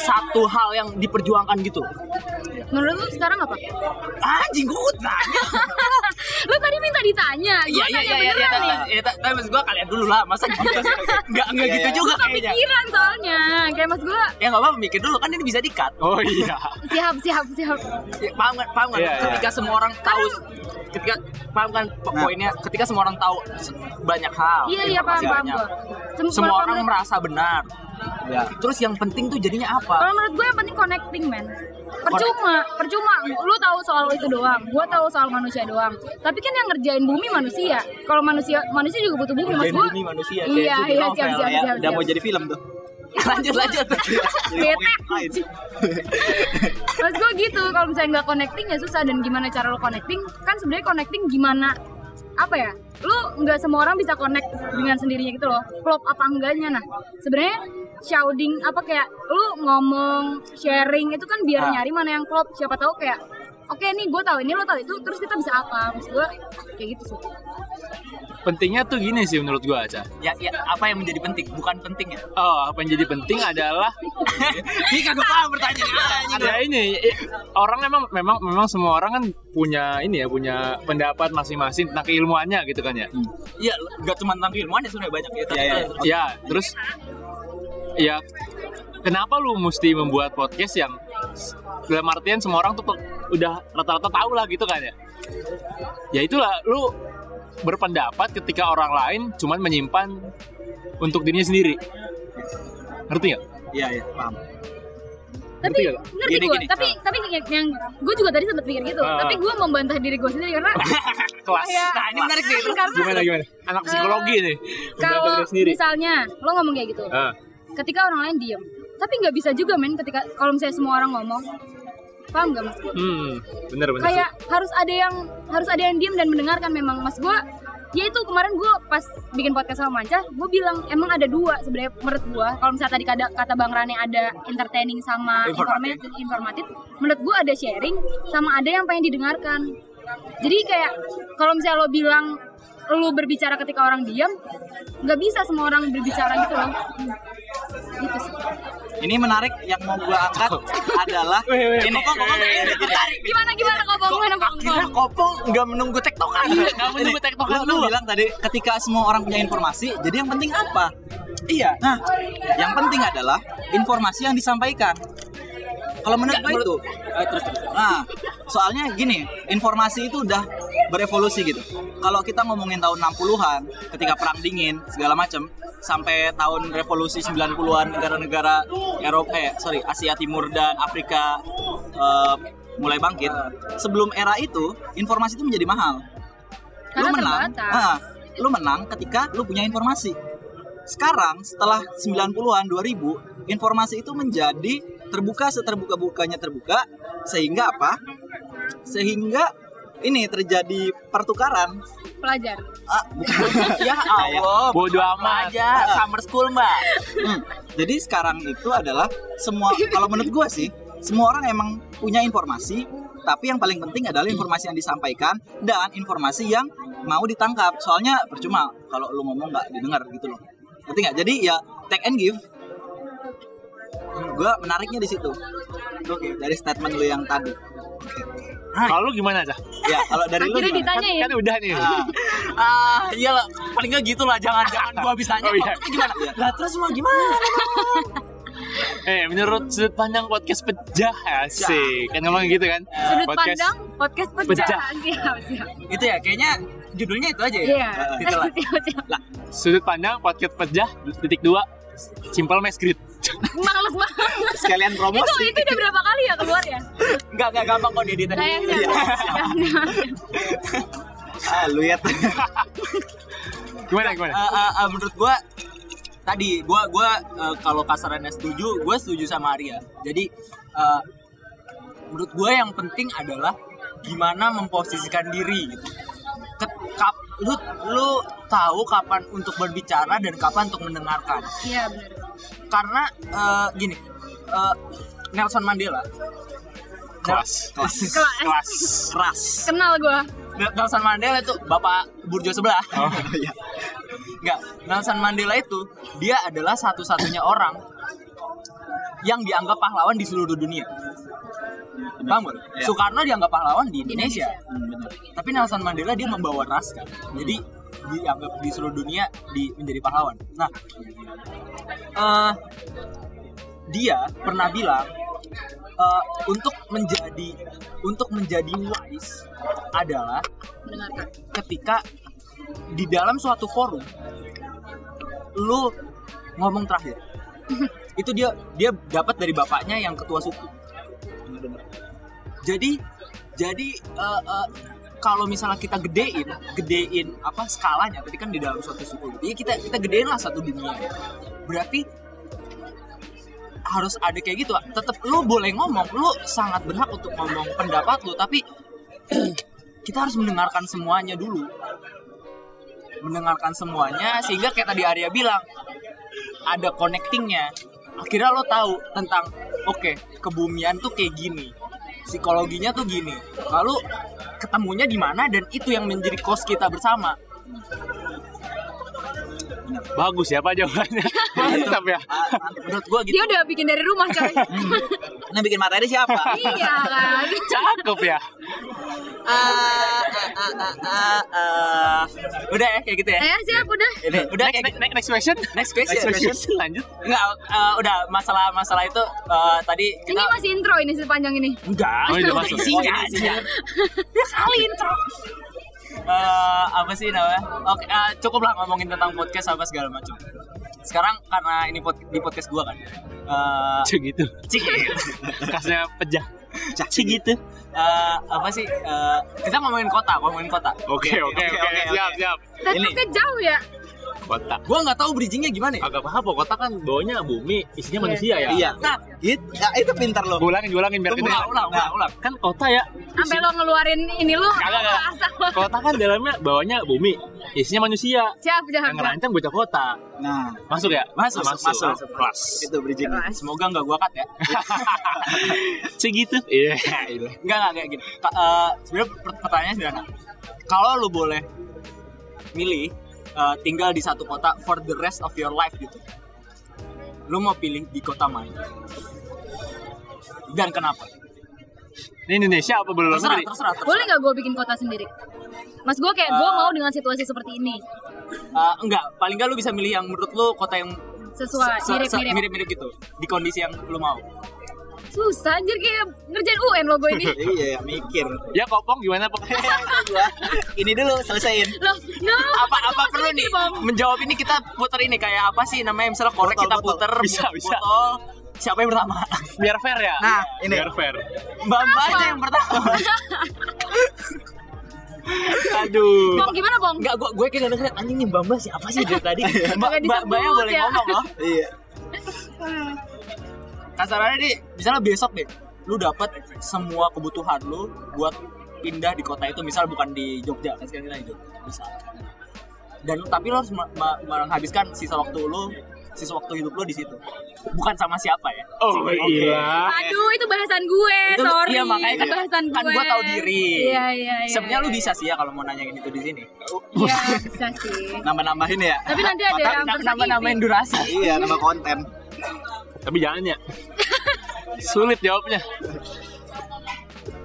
satu hal yang diperjuangkan gitu.
menurut lu sekarang apa
Anjing gue nanya
lu tadi minta ditanya
Iya iya
gue nanya
iya iya
beneran
iya,
nih
iya ta- tapi maksud gua kalian dulu lah masa gitu sih? nggak nggak
Iya,
gitu
iya.
juga kayaknya
kepikiran soalnya kayak mas gue
ya nggak apa-apa mikir dulu kan ini bisa dikat
Oh iya.
siap siap siap
Ya, paham kan paham kan
Iya, iya.
ketika semua orang tahu ketika paham kan po-
Nah.
poinnya ketika semua orang tahu se- banyak hal
iya iya paham
informasi
paham
Oh, banyak.
gue
semua orang merasa benar
Ya.
terus yang penting tuh jadinya apa
Kalau menurut gue yang penting connecting man Percuma, percuma Lu tahu soal itu doang Gue tahu soal manusia doang Tapi kan yang ngerjain bumi manusia Kalau manusia manusia juga butuh bumi Mas
Ngerjain
gue
bumi manusia, kayak
Iya,
itu di
iya,
novel
siap, siap,
Ya,
siap,
udah
siap.
mau jadi film tuh.
lanjut lanjut
Bete anjing. Mas gue gitu Kalau misalnya nggak connecting ya susah Dan gimana cara lu connecting Kan sebenarnya connecting gimana Apa ya Lu nggak semua orang bisa connect dengan sendirinya gitu loh Klop apa enggaknya Nah sebenarnya shouting apa kayak lu ngomong sharing itu kan
Ah.
biar nyari mana yang klop siapa tahu kayak oke nih gue tahu ini lo tahu itu terus kita bisa apa maksud gue kayak gitu sih
Pentingnya tuh gini sih menurut gua, Aca.
ya ya apa yang menjadi penting bukan penting ya
Oh, apa yang jadi penting adalah
ini kagak paham pertanyaan
ada ini i- orang memang memang memang semua orang kan punya ini ya, punya pendapat masing-masing tentang keilmuannya gitu kan ya.
iya nggak cuma tentang keilmuan ya sebenarnya banyak ya
Iya, iya.
terus-
Ya, terus ya kenapa lu mesti membuat podcast yang s- dalam artian semua orang tuh pe- udah rata-rata tahu lah gitu kan ya? Ya itulah lu berpendapat ketika orang lain cuman menyimpan untuk dirinya sendiri. Ngerti nggak?
Iya, iya, paham.
tapi
Ngerti nggak?
ngerti
Gini,
gue
gini.
tapi tapi yang, gue juga tadi sempat pikir gitu
Ah.
tapi gue membantah diri gue sendiri karena
Kelas.
Iya.
nah ini menarik nih terus
karena Eh,
Gimana gimana? Anak psikologi nih. Pendapat
kalau
dirinya sendiri.
misalnya lo ngomong kayak gitu
Ah,
ketika orang lain diem tapi nggak bisa juga men ketika kalau misalnya semua orang ngomong paham gak mas gue
hmm, bener bener.
kayak harus ada yang harus ada yang diem dan mendengarkan memang mas gue ya itu kemarin gue pas bikin podcast sama Manca gue bilang emang ada dua sebenarnya menurut gue kalau misalnya tadi kata, kata Bang Rane ada entertaining sama
Informatif.
informatif, informatif menurut gue ada sharing sama ada yang pengen didengarkan jadi kayak kalau misalnya lo bilang lo berbicara ketika orang diam nggak bisa semua orang berbicara gitu loh gitu sih
Ini menarik yang mau gua angkat adalah
Weh, weh,
ini kok ngomong ini menarik.
gimana gimana kok bang gimana bang
Akhirnya kopong nggak menunggu tektokan.
Nggak menunggu tektokan
lu,
dulu.
Eh, bilang tadi ketika semua orang punya informasi, jadi yang penting apa? Iya. Nah, yang penting adalah informasi yang disampaikan. Kalau menurut gue itu, eh, terus, terus. Nah, soalnya gini, informasi itu udah berevolusi gitu. Kalau kita ngomongin tahun 60-an, ketika perang dingin segala macam, sampai tahun revolusi 90-an negara-negara Eropa, eh, sorry, Asia Timur dan Afrika eh, mulai bangkit. Sebelum era itu, informasi itu menjadi mahal
Karena
lu menang,
terbatas.
ah, lu menang ketika lu punya informasi. Sekarang setelah 90-an 2000, informasi itu menjadi terbuka seterbuka-bukanya terbuka sehingga apa? Sehingga ini terjadi pertukaran
pelajar
ah, bukan.
ya Allah
Bodo amat.
aja summer school mbak
Hmm, Jadi sekarang itu adalah semua kalau menurut gua sih semua orang emang punya informasi tapi yang paling penting adalah informasi yang disampaikan dan informasi yang mau ditangkap soalnya percuma kalau lu ngomong nggak didengar gitu loh ngerti nggak jadi ya take and give Hmm, gua menariknya di situ dari statement lu yang tadi
Kalau lu gimana aja?
ya kalau dari lu
akhirnya
gimana?
ditanyain
Kan udah nih.
Ah,
ah iyalah paling nggak gitu lah jangan jangan gua habis nanya
Oh, iya.
kok. gimana
Iya.
lah terus mau gimana
Eh, menurut sudut pandang podcast pecah asik. Kan ngomong gitu kan?
sudut
Podcast.
pandang podcast pecah,
Pecah.
siap siap
itu ya kayaknya judulnya itu aja ya
iya
gitu lah.
siap siap
Sudut pandang podcast pecah titik dua simpel mes grid.
males banget
sekalian
itu
promosi
itu udah berapa kali ya keluar ya
nggak nggak gampang kok Iya. di edit
nah
Iya,
yang siap siap, siap.
ah, lu ya
Gimana gimana?
Eh, eh, eh, menurut gua tadi gua gua eh, kalau kasarannya setuju gua setuju sama Arya jadi eh, menurut gua yang penting adalah gimana memposisikan diri gitu Ket- kap- lu lu tahu kapan untuk berbicara dan kapan untuk mendengarkan
iya benar
karena eh, gini eh, Nelson Mandela
Kelas.
kelas
Kelas.
keras
eh, kenal gua
Nelson Mandela itu bapak burjo sebelah
Oh,
Enggak, Nelson Mandela itu dia adalah satu-satunya orang yang dianggap pahlawan di seluruh dunia. Paham nggak?
Iya.
Soekarno dianggap pahlawan di Indonesia.
Indonesia.
Hmm, betul. Tapi Nelson Mandela dia membawa ras kan. Jadi dianggap di seluruh dunia di, menjadi pahlawan. Nah, eh, dia pernah bilang eh, untuk menjadi untuk menjadi wise adalah
mendengarkan
ketika di dalam suatu forum lu ngomong terakhir itu dia dia dapat dari bapaknya yang ketua suku jadi jadi eh, eh, kalau misalnya kita gedein gedein apa skalanya tapi kan di dalam suatu suku gitu ya kita kita gedein lah satu dunia berarti harus ada kayak gitu tetap lu boleh ngomong lu sangat berhak untuk ngomong pendapat lu tapi kita harus mendengarkan semuanya dulu mendengarkan semuanya sehingga kayak tadi Arya bilang ada connectingnya akhirnya lo tahu tentang oke kebumian tuh kayak gini psikologinya tuh gini lalu ketemunya di mana dan itu yang menjadi kos kita bersama
Bagus ya Pak jawabannya. Mantap ya.
menurut gua gitu
dia udah bikin dari rumah coy
nah bikin materi siapa
iya kan
Cakep ya.
Ah, ah, ah, ah, ah. udah ya kayak gitu ya
eh siap udah
udah, udah
next,
kayak
next,
gitu.
next, next question.
next question,
Next question. Lanjut.
Enggak, eh, udah masalah masalah itu eh, tadi kita
ini masih intro ini sepanjang ini
Enggak,
Oh, iya. udah masuk.
isinya aja. Ya kali intro. Eh, apa sih namanya? Oke, eh, cukup lah ngomongin tentang podcast apa segala macam. Sekarang karena ini pod- di podcast gua kan. Eh,
Cek gitu.
cik.
Kasnya pejah.
Cik gitu. Eh, apa sih? Eh, kita ngomongin kota, ngomongin kota.
Oke oke oke. Siap siap.
tetapnya jauh ya
Kota.
Gua nggak tahu bridgingnya gimana ya.
Agak apa-apa kota kan bawahnya bumi, isinya manusia ya.
iya
Nah,
It- ah, itu pintar lo
Ulangin, ulangin biar
tunggu, ulang,
kedengeran.
ulang, ulang, ulang.
Kan kota ya.
sampai lo ngeluarin ini lo
Kagak, kagak.
asal
Kota kan dalamnya bawahnya bumi, isinya manusia.
siap siap
Yang
siap
ngerancang bocah kota.
nah
Masuk ya?
Masuk, masuk, masuk.
Kelas.
itu bridging
Semoga nggak gua cut ya.
Segitu. Iya.
Enggak enggak kayak gini. Ka- eh, Sebenarnya per- pertanyaannya sederhana. Kalau lu boleh milih eh, tinggal di satu kota for the rest of your life gitu. Lu mau pilih di kota mana? Dan kenapa?
Ini Indonesia apa belum
Terserah,
negeri?
terserah. terserah.
boleh nggak gue bikin kota sendiri mas gue kayak gue mau dengan situasi seperti ini
Eh, enggak, paling enggak lu bisa milih yang menurut lu kota yang
sesuai
se- se-
mirip mirip
mirip-mirip gitu di kondisi yang lu mau.
susah anjir kayak ngerjain UN lo gue ini
iya mikir
Ya kopong gimana pokoknya?
Gua, ini dulu selesaiin
lo no
Apa
itu
apa
masih
perlu
mikir,
nih
Bang.
menjawab ini kita puter ini kayak apa sih namanya misalnya korek
Botol,
kita
botol.
puter
Bisa,
botol.
bisa.
Siapa yang pertama?
Biar fair ya.
Nah, ini.
Biar fair.
Mbak Mbak aja yang pertama.
Aduh.
bong gimana bong
Enggak, gue gue kayak denger anjing nih Bamba siapa sih dari tadi? Mbak
Kagak
Mbak
disebut
Mbaknya boleh
Iya. ya.
ngomong loh.
iya
Kasarannya nih, misalnya besok deh, lu dapat semua kebutuhan lu buat pindah di kota itu misal bukan di Jogja kan sekarang kita di Jogja misal dan tapi lo harus me- me- menghabiskan sisa waktu lo sisa waktu hidup lo di situ bukan sama siapa ya
Oh,
Oke.
iya.
Aduh, itu bahasan gue,
Nah, Itu-
sorry.
iya, makanya kan-
bahasan
kan
gue.
gue tahu diri.
Iya, iya, iya.
sebenarnya lo
iya.
bisa sih ya kalau mau nanyain itu di sini
Iya, bisa sih.
nambah-nambahin ya
Tapi nanti ada yang
nambah namain
tersakiti.
durasi
iya nambah konten
Tapi jangan ya. Sulit jawabnya.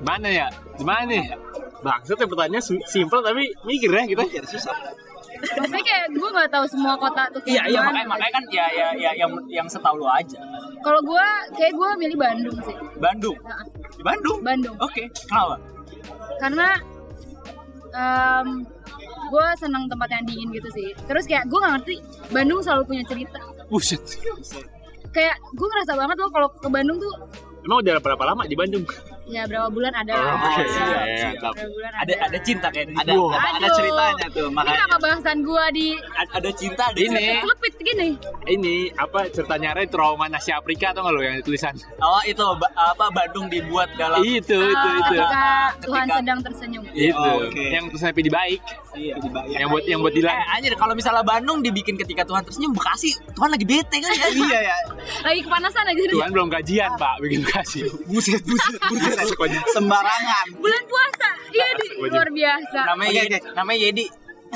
Mana ya? Gimana nih? Bangsat ya pertanyaannya sim- simple tapi mikir ya kita.
jadi susah
Maksudnya kayak gue gak tahu semua kota tuh kayak
iya iya
gimana.
makanya makanya kan ya ya ya yang yang setahu lo aja
Kalau gue, kayak gue milih Bandung sih.
Bandung
Nah,
di Bandung
Bandung.
oke kenapa
karena gue seneng tempat yang dingin gitu sih terus kayak gue nggak ngerti Bandung selalu punya cerita
Buset.
kayak gue ngerasa banget loh kalau ke Bandung tuh
Emang udah berapa lama di Bandung?
ya berapa bulan ada
Oke,
siap,
siap.
berapa bulan ada
ada ada cinta kayak ada
ada ada, ada
Aduh.
ceritanya tuh
ini
makanya
kenapa bahasan gue di
ada cinta ada
Ini.
cinta.
lepit gini
Ini apa cerita nyari trauma nasi Afrika atau nggak lo yang tulisan?
oh itu ba- apa Bandung dibuat dalam
itu itu
Ah,
Iya. itu. kan.
ketika Tuhan
Ketika-
sedang tersenyum
Itu.
Oh, oke.
Yang tulisannya pidi baik.
Iya, dibayar.
Yang buat yang buat
Eh,
Dilan.
anjir kalau misalnya Bandung dibikin ketika Tuhan tersenyum Bekasi Tuhan lagi bete kan ya?
iya ya
lagi kepanasan aja nih.
Tuhan belum gajian pak, bikin kasih.
buset buset buset sembarangan
bulan puasa iya di luar biasa
namanya
Oke,
Yedi, namanya Yedi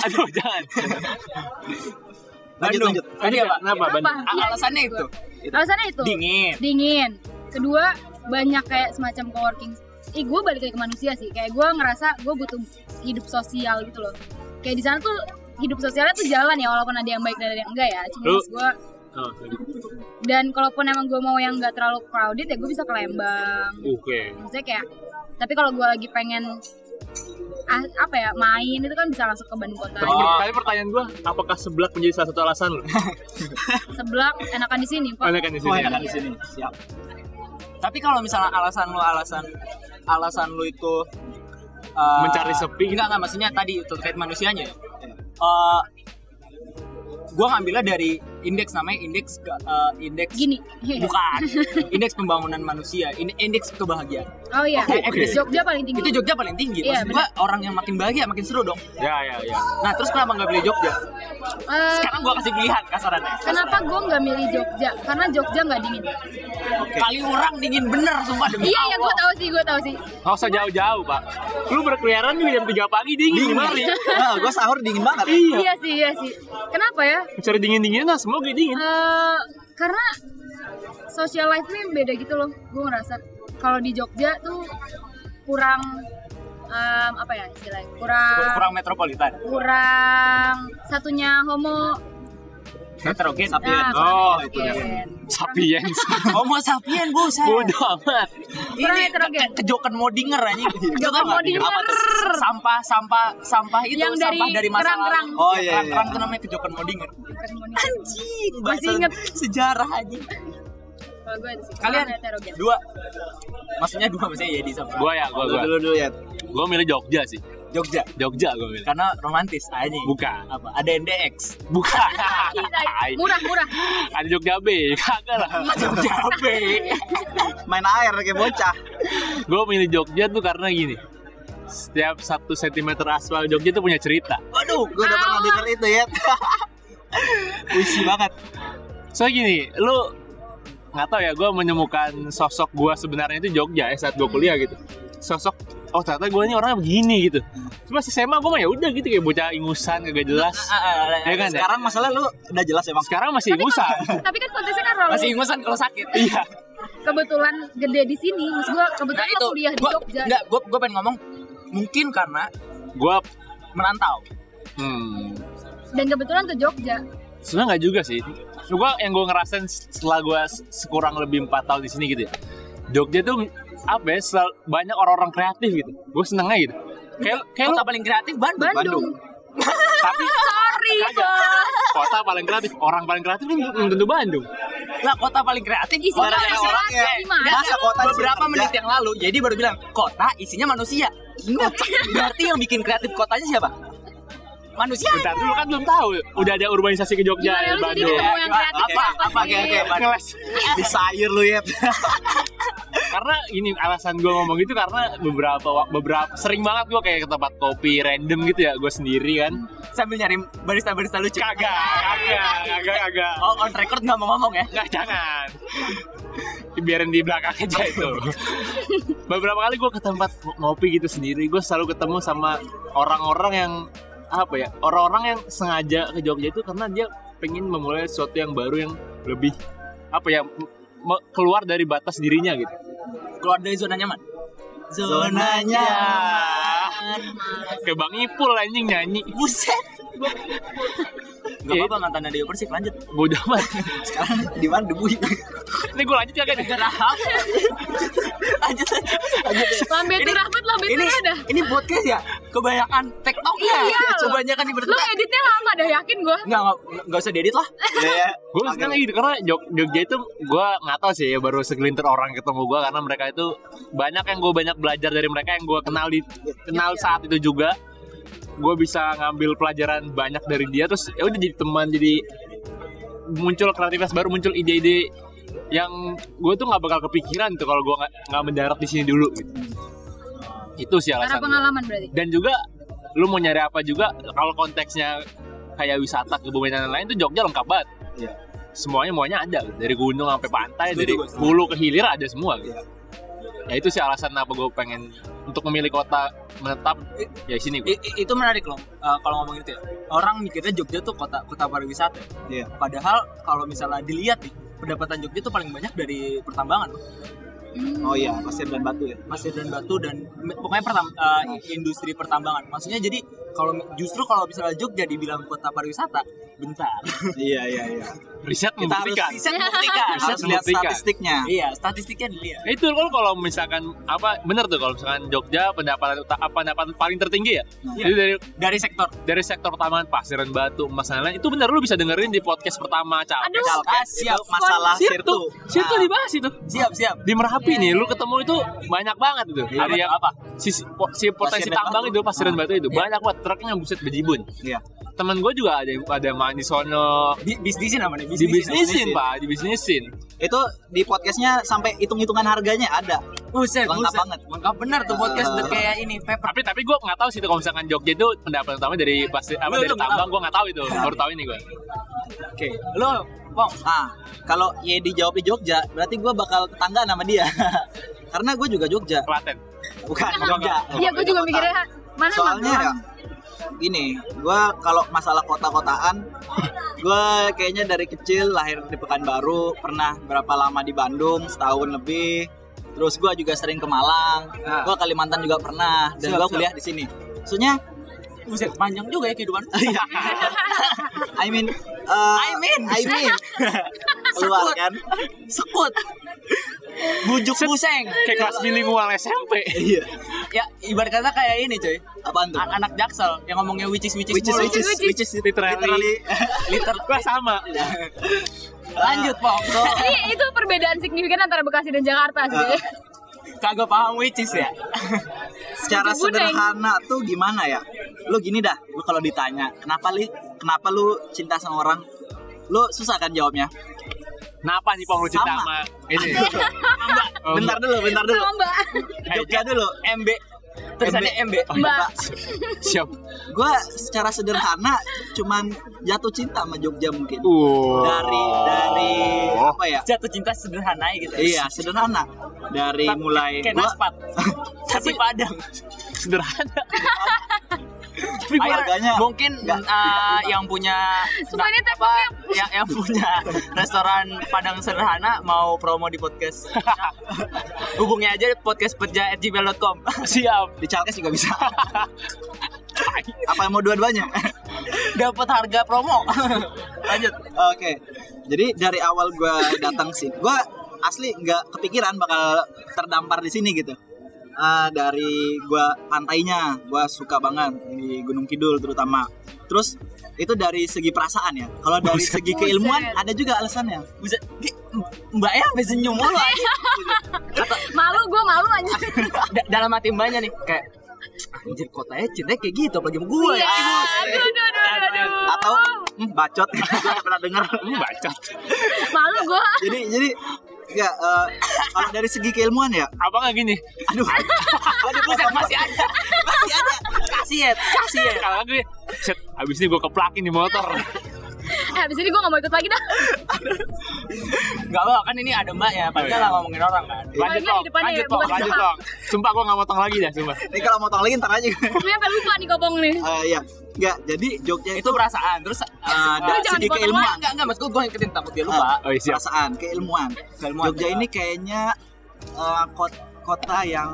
Aduh jangan.
lanjut
Bandung
lanjut
tadi apa
Kenapa Bandung?
A-
Iya,
alasannya
gitu.
itu
alasannya itu
dingin
dingin kedua banyak kayak semacam coworking ih gue balik lagi ke manusia sih kayak gue ngerasa gue butuh hidup sosial gitu loh kayak di sana tuh hidup sosialnya tuh jalan ya walaupun ada yang baik dan ada yang enggak ya cuma
Lu-
gue
Oh,
dan kalaupun emang gue mau yang enggak terlalu crowded ya gue bisa ke Lembang
Oke.
maksudnya kayak tapi kalau gue lagi pengen ah- apa ya main itu kan bisa langsung ke Bandung kota
Tapi, tapi pertanyaan gue, apakah seblak menjadi salah satu alasan lo?
sebelah enakan di sini Pak.
Mana kan di
oh
sini? ya?
enakan di sini siap
tapi kalau misalnya alasan lu alasan alasan lu itu uh,
Mencari sepi. Iya.
enggak enggak maksudnya tadi terkait manusianya Eh gua ngambilnya dari indeks namanya indeks ke- eh, indeks
gini ya.
bukan indeks pembangunan manusia ini indeks kebahagiaan
oh iya
Oke, oke.
Jogja paling tinggi
itu Jogja paling tinggi
Iya,
maksud gua orang yang makin bahagia makin seru dong
Ya ya ya.
nah terus kenapa nggak pilih Jogja
Eh,
sekarang gua kasih pilihan kasarannya
Kenapa gue nggak milih Jogja? Karena Jogja nggak dingin.
kali orang dingin bener sumpah demi
Iya, ya
Allah.
gue tahu sih, gue tahu sih.
Nggak usah jauh-jauh pak. Lu berkeliaran juga jam 3 pagi dingin di mari.
nah, gue sahur dingin banget
Iya.
Iya sih, iya sih. Kenapa ya?
Cari dingin-dingin lah, semoga dingin.
Eh, karena social life-nya beda gitu loh. Gue ngerasa kalau di Jogja tuh kurang em, apa ya istilahnya? Kurang
kurang metropolitan
kurang satunya homo.
heterogen
Nah,
sapien
Oh,
kurang
itu
heterogen.
Sapiens.
homo sapien bosan
Bodoh amat.
Kurang
ini
heterogen.
ke- kejokan modinger anjing Itu tau nggak?
modinger.
Apa tuh? sampah sampah sampah itu
Yang dari
sampah dari masa
kerang-kerang.
lalu
Oh,
Iya,
iya,
kerang-kerang
iya.
itu namanya kejokan modinger anjing
Masih
bahasa
inget.
sejarah anjing
Kalau gue itu sih, kurang
kalian
heterogen.
dua maksudnya dua maksudnya Yedi sama
Gua ya, gua
Lu
gua.
dulu dulu ya
Gua milih Jogja sih.
Jogja
Jogja gua milih.
karena romantis anjing
Bukan.
apa ada NDX
Bukan.
Iya, Murah, murah.
Ada Jogja B, kagak lah.
Jogja be.
main air kayak bocah
Gue milih Jogja tuh karena gini. Setiap satu sentimeter aspal Jogja tuh punya cerita.
waduh gue udah pernah denger itu ya puisi banget
Soalnya gini, lu nggak tahu ya, gue menemukan sosok gue sebenarnya itu Jogja ya saat gue kuliah gitu. Sosok, oh ternyata gue ini orangnya begini gitu. Cuma SMA gue mah ya udah gitu kayak bocah ingusan kagak jelas.
Ah,
Ya kan ya?
sekarang masalah lu udah jelas ya bang
Sekarang masih ingusan.
Tapi kan konteksnya kan kalau
masih ingusan kalau sakit
Iya.
kebetulan gede di sini, mas gue
nah
kebetulan lo
itu
kan kuliah di
gua,
Jogja.
enggak gua gua pengen ngomong mungkin karena
Gue,
merantau
hmm,
dan kebetulan ke Jogja
sebenarnya nggak juga sih. Gue yang gue ngerasain setelah gue sekurang lebih empat tahun di sini gitu ya. Jogja tuh apa ya, sel- banyak orang-orang kreatif gitu. Gue senengnya gitu. Kayak, kayak lu
kota paling kreatif Bandung
Bandung,
tapi
sorry bos
kota paling kreatif orang paling kreatif kan belum tentu Bandung
lah kota paling kreatif
Isinya
Orang-
ada
orang-
orang
orang-
ya. Gimana
Dan
sih lu?
kota beberapa
Kerja.
menit yang lalu jadi baru bilang kota isinya manusia Kocak. berarti yang bikin kreatif kotanya siapa manusia
bentar dulu kan belum tahu udah ada urbanisasi ke Jogja
Gimana Iya, lu jadi
Bandung
ketemu yang
Coba,
kreatif
apa-
siapa
apa-
sih?
oke, oke, Bandung.
ngeles
disayur lu ya
karena ini alasan gue ngomong gitu karena beberapa wa- beberapa sering banget gue kayak ke tempat kopi random gitu ya gue sendiri kan
Sambil nyari barista-barista lucu.
kagak kagak kagak kagak
Oh, on record nggak mau ngomong ya?
Nggak, jangan. Biarin di belakang aja itu. Beberapa kali gue ke tempat ngopi gitu sendiri, gue selalu ketemu sama orang-orang yang apa ya, orang-orang yang sengaja ke Jogja itu karena dia pengen memulai sesuatu yang baru yang lebih apa ya me- keluar dari batas dirinya gitu.
Keluar dari zona nyaman.
Zonanya.
Ke Bang Ipul anjing nyanyi.
Buset. Gak
Ya,
apa-apa mantan Nadeo Persik lanjut.
Bodoh amat.
Sekarang di mana debu itu?
Ini gue lanjut ya kan?
Gerahap. lanjut lanjut.
Lambetur Rahmat,
Ini
Lambetur ada.
ini podcast ya. Kebanyakan TikTok ya.
Iya, loh.
Kebanyakan di
Lu editnya lama dah yakin gue.
Enggak, enggak, enggak usah diedit lah.
Iya.
gue seneng gitu karena Jog- Jogja itu gue nggak tahu sih ya baru segelintir orang ketemu gue karena mereka itu banyak yang gue banyak belajar dari mereka yang gue kenal di kenal saat itu juga gue bisa ngambil pelajaran banyak dari dia terus ya udah jadi teman jadi muncul kreativitas baru muncul ide-ide yang gue tuh nggak bakal kepikiran tuh kalau gue nggak nggak mendarat di sini dulu gitu. itu sih alasan
Karena
gua
pengalaman berarti.
dan juga lu mau nyari apa juga kalau konteksnya kayak wisata kebumen dan lain-lain itu Jogja lengkap banget
Iya.
semuanya semuanya ada dari gunung sampai pantai
Setuju,
dari
gua setuju. Iya.
hulu ke hilir ada semua gitu. ya itu sih alasan apa gue pengen untuk memilih kota menetap ya di sini gue
I- i- itu menarik loh eh, kalau ngomong itu ya. Orang mikirnya Jogja tuh kota kota pariwisata.
Iya.
Padahal kalau misalnya dilihat nih, pendapatan Jogja tuh paling banyak dari pertambangan. loh.
Hmm.
Oh iya, pasir dan batu ya.
Pasir dan batu dan me- pokoknya pertam- eh, industri pertambangan. Maksudnya jadi kalau mi- justru kalau misalnya Jogja dibilang kota pariwisata, bentar.
Iya iya iya.
riset
Kita harus
membuktikan
Riset membuktikan.
Harus lihat
membuktikan.
statistiknya.
Iya, statistiknya dilihat.
Nah, itu kan kalau misalkan apa bener tuh kalau misalkan Jogja pendapatan uta- apa, pendapatan paling tertinggi ya
Iya.
itu dari
Dari sektor
dari sektor taman pasiran batu emas dan lain itu bener lu bisa dengerin di podcast pertama Cal
Aduh. Nah,
Ah,
Siap
siap,
masalah
Sirtu.
sirtu. Ah.
Sirtu
Nah.
dibahas itu.
siap, siap.
Di Merapi nih, lu ketemu itu banyak banget itu. Ada yang apa? Si, po- si potensi
Pasir dan
tambang
batu.
itu, pasiran batu itu banyak banget. Truknya buset bejibun.
Iya.
Temen gue juga ada yang ada yang main di sono.
Bi- Bisnisin namanya,
Di
bisnisin.
bisnisin pak, di bisnisin.
Itu di podcastnya sampai hitung-hitungan harganya ada.
Buset,
Lengkap
buset.
banget.
Lengkap bener tuh podcast
Eh.
udah kayak ini, paper.
Tapi tapi gue nggak tahu sih itu kalau misalkan Jogja itu pendapat utama dari pasti apa
Lu-
dari
lu nggak
tambang gue nggak tahu itu. Baru tahu ini gue.
Oke, lo Wong,
Ah, kalau Yedi jawab di Jogja, berarti gue bakal tetangga sama dia. Karena gue juga Jogja.
Klaten.
Bukan Jogja.
Iya, gue juga mikirnya mana
Soalnya ya,
Magelang?
gini, gue kalau masalah kota-kotaan, gue kayaknya dari kecil lahir di Pekanbaru, pernah berapa lama di Bandung, setahun lebih. Terus gue juga sering ke Malang,
Ah.
gue Kalimantan juga pernah,
Siap,
dan gue
siap.
kuliah di sini. Maksudnya,
buset panjang juga ya kehidupan.
Iya. I mean, uh,
I mean.
I mean, keluar
Sekut.
kan?
Sekut. Bujuk buseng.
Kayak kelas bilingual SMP.
Iya.
Ya, ibarat kata kayak ini, coy.
Apaan tuh?
An- anak jaksel yang ngomongnya which is which is
Which is,
mulu.
which is, which is
Literally.
liter
Gue sama.
lanjut Wong Lo
Tapi Iya, itu perbedaan signifikan antara Bekasi dan Jakarta sih.
Eh, kagak paham which is ya
secara
Itu budeng.
sederhana tuh gimana ya? Lu gini dah, lu kalau ditanya, kenapa li, kenapa lu cinta sama orang? Lu susah kan jawabnya?
Kenapa sih Pong lu cinta
Sama.
sama ini? Oh,
Bentar dulu, bentar dulu.
Sama Mbak.
Iya,
Jogja dulu.
MB tulisannya MB
Mbak.
Siap.
Gua secara sederhana cuman jatuh cinta sama Jogja mungkin.
Uh.
Dari dari
Oh.
apa ya?
jatuh cinta sederhana ya gitu
Iya, sederhana. Dari
Tapi
mulai
kayak
gua
naspat tapi padang
sederhana. Tapi
Ayo,
gua-
keluarganya
mungkin
nggak-
eh, yang punya
Sumpah ini
apa,
tepatnya
yang, yang punya restoran padang sederhana mau promo di podcast hubungi aja podcastpeja@gmail.com
siap.
di Chalkes juga bisa. apa mau dua-duanya?
dapat harga promo lanjut
Oke, jadi dari awal gue datang sih, gue asli nggak kepikiran bakal terdampar di sini gitu. Eh, dari gue pantainya, gue suka banget di Gunung Kidul terutama. Terus itu dari segi perasaan ya. Kalau dari segi keilmuan
Buset.
ada juga alasannya.
Buset, Ki, mbak ya sampai senyum mulu anjing.
malu gue malu aja.
Da- dalam hati mbaknya nih kayak "Ah, anjir kotanya cintanya kayak gitu apalagi sama gue
Iya.
ya
Aduh, aduh, aduh, aduh, aduh.
Atau hmm, bacot, gue pernah denger.
Lu bacot.
Malu gue.
jadi jadi Enggak, eh, kalau dari segi keilmuan ya,
Apa nggak gini?
aduh. Kalau di
Buset, masih ada.
masih ada. Kasih ya.
Kasih
Iya.
ya. Kalau gue, set, abis ini gue keplakin di motor.
Eh, abis ini gue gak mau ikut lagi dah.
Enggak apa kan ini ada mbak ya. Padahal
Iya.
lah ngomongin orang kan.
Lanjut
di
tong,
depannya
lanjut
ya,
tong,
bukan di
lanjut
belakang.
tong. Sumpah gue nggak motong lagi dah, sumpah.
Ini kalau motong lagi ntar aja.
Gue sampai lupa nih kopong nih.
Eh, ya. Enggak, jadi Jogja itu
Itu perasaan. Terus eh,
ada
Lu jangan
segi
dipotong
keilmuan.
enggak enggak mas gue gue ngikutin takut dia
Ah,
lupa.
Oh iya, siap.
perasaan, keilmuan.
Keilmuan.
Jogja ini kayaknya eh, kot- kota yang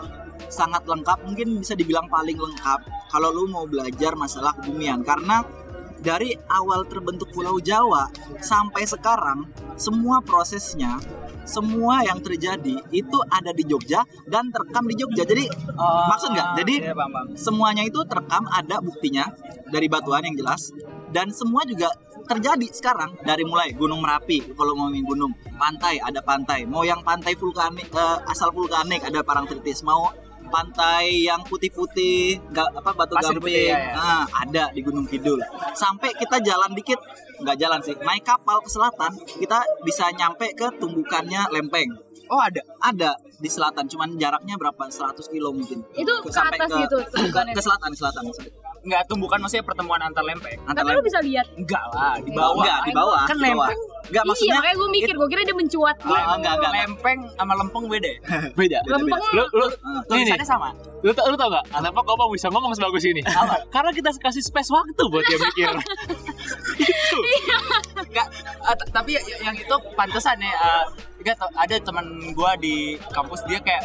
sangat lengkap, mungkin bisa dibilang paling lengkap kalau lu mau belajar masalah kebumian karena dari awal terbentuk Pulau Jawa sampai sekarang semua prosesnya semua yang terjadi itu ada di Jogja dan terekam di Jogja. Jadi
Ah,
maksud nggak? Jadi
iya, paham, paham.
semuanya itu terekam ada buktinya dari batuan yang jelas dan semua juga terjadi sekarang dari mulai Gunung Merapi kalau mau ngomongin gunung pantai ada pantai mau yang pantai vulkanik eh, asal vulkanik ada parangtritis mau pantai yang putih-putih ga- apa batu
Pasir
gamping
putih, ya, ya.
Nah, ada di Gunung Kidul sampai kita jalan dikit nggak jalan sih naik kapal ke selatan kita bisa nyampe ke tumbukannya Lempeng
Oh ada.
ada di selatan cuman jaraknya berapa 100 kilo mungkin
Itu ke
Sampai
atas gitu,
ke,
tumbukannya.
ke selatan ke selatan maksudnya.
Enggak tumbukan maksudnya pertemuan antar lempeng.
Antara
Tapi lu bisa lihat.
Enggak lah, di
bawah
bawah.
enggak di bawah
Kan
di bawah.
lempeng.
enggak
iya,
maksudnya
makanya gue mikir, gue kira dia mencuat.
Ah, enggak, enggak, enggak.
Lempeng sama lempeng beda ya?
Beda.
Lempeng.
Lu, lu,
Ah,
nih, nih.
Tulisannya sama.
Lu, tau- lu tau gak? Kenapa Kopong bisa ngomong sebagus ini? Karena kita kasih space waktu buat dia mikir.
Enggak, eh, t- tapi y- yang itu pantesan ya. eh, enggak tau, ada teman gua di kampus dia kayak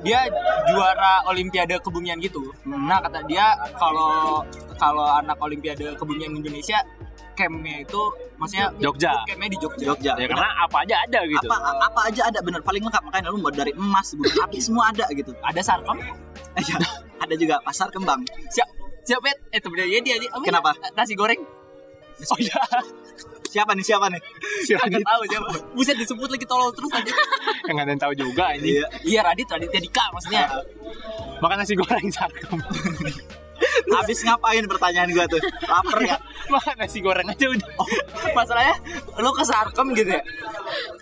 dia juara olimpiade kebumian gitu. Nah, kata dia kalau kalau anak olimpiade kebumian Indonesia campnya itu maksudnya
Jogja.
campnya di Jogja.
Jogja
Ya karena apa aja ada gitu.
apa apa aja ada bener paling lengkap makanya lu mau dari emas bulu api semua ada gitu
Ada sarkom?
Iya, ada juga pasar kembang
Siap. Siap, Bet. Eh, sebenarnya dia dia- apa ya?
Kenapa?
Nasi goreng. Oh iya,
siapa nih siapa nih
kagak tahu siapa. Buset disebut lagi tolol terus aja.
Yang nggak ada yang tahu juga ini.
iya
Iya Radit, Raditya Dika maksudnya.
ya.
Makan nasi goreng sarkom.
habis ngapain pertanyaan gua tuh lapar ya
Makan nasi goreng aja udah.
Oh, masalahnya lo ke Sarkem gitu ya.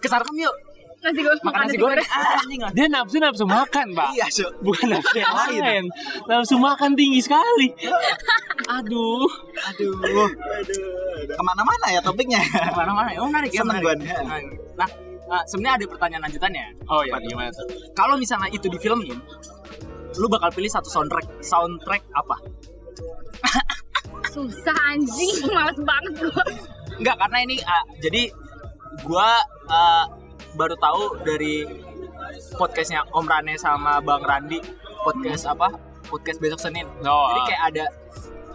Ke Sarkem yuk.
Nasi goreng.
Makan nasi goreng. Ah, anjing lah.
Dia nafsu nafsu makan, Pak.
iya Su.
Bukan nafsu yang
Lain.
lain. Nafsu makan tinggi sekali. Aduh.
aduh kemana-mana ya topiknya
Mana-mana. Oh, menarik ya.
Seneng
menarik.
gua nih.
Menarik. Nah, eh, sebenarnya ada pertanyaan lanjutannya.
Oh iya, gimana tuh?
Kalau misalnya itu di filmin, lu bakal pilih satu soundtrack. Soundtrack apa?
Susah anjing, males banget gue.
Enggak, karena ini eh, jadi gua eh, baru tahu dari podcastnya Om Rane sama Bang Randi podcast apa? Podcast besok Senin.
Oh,
Jadi
ah.
kayak ada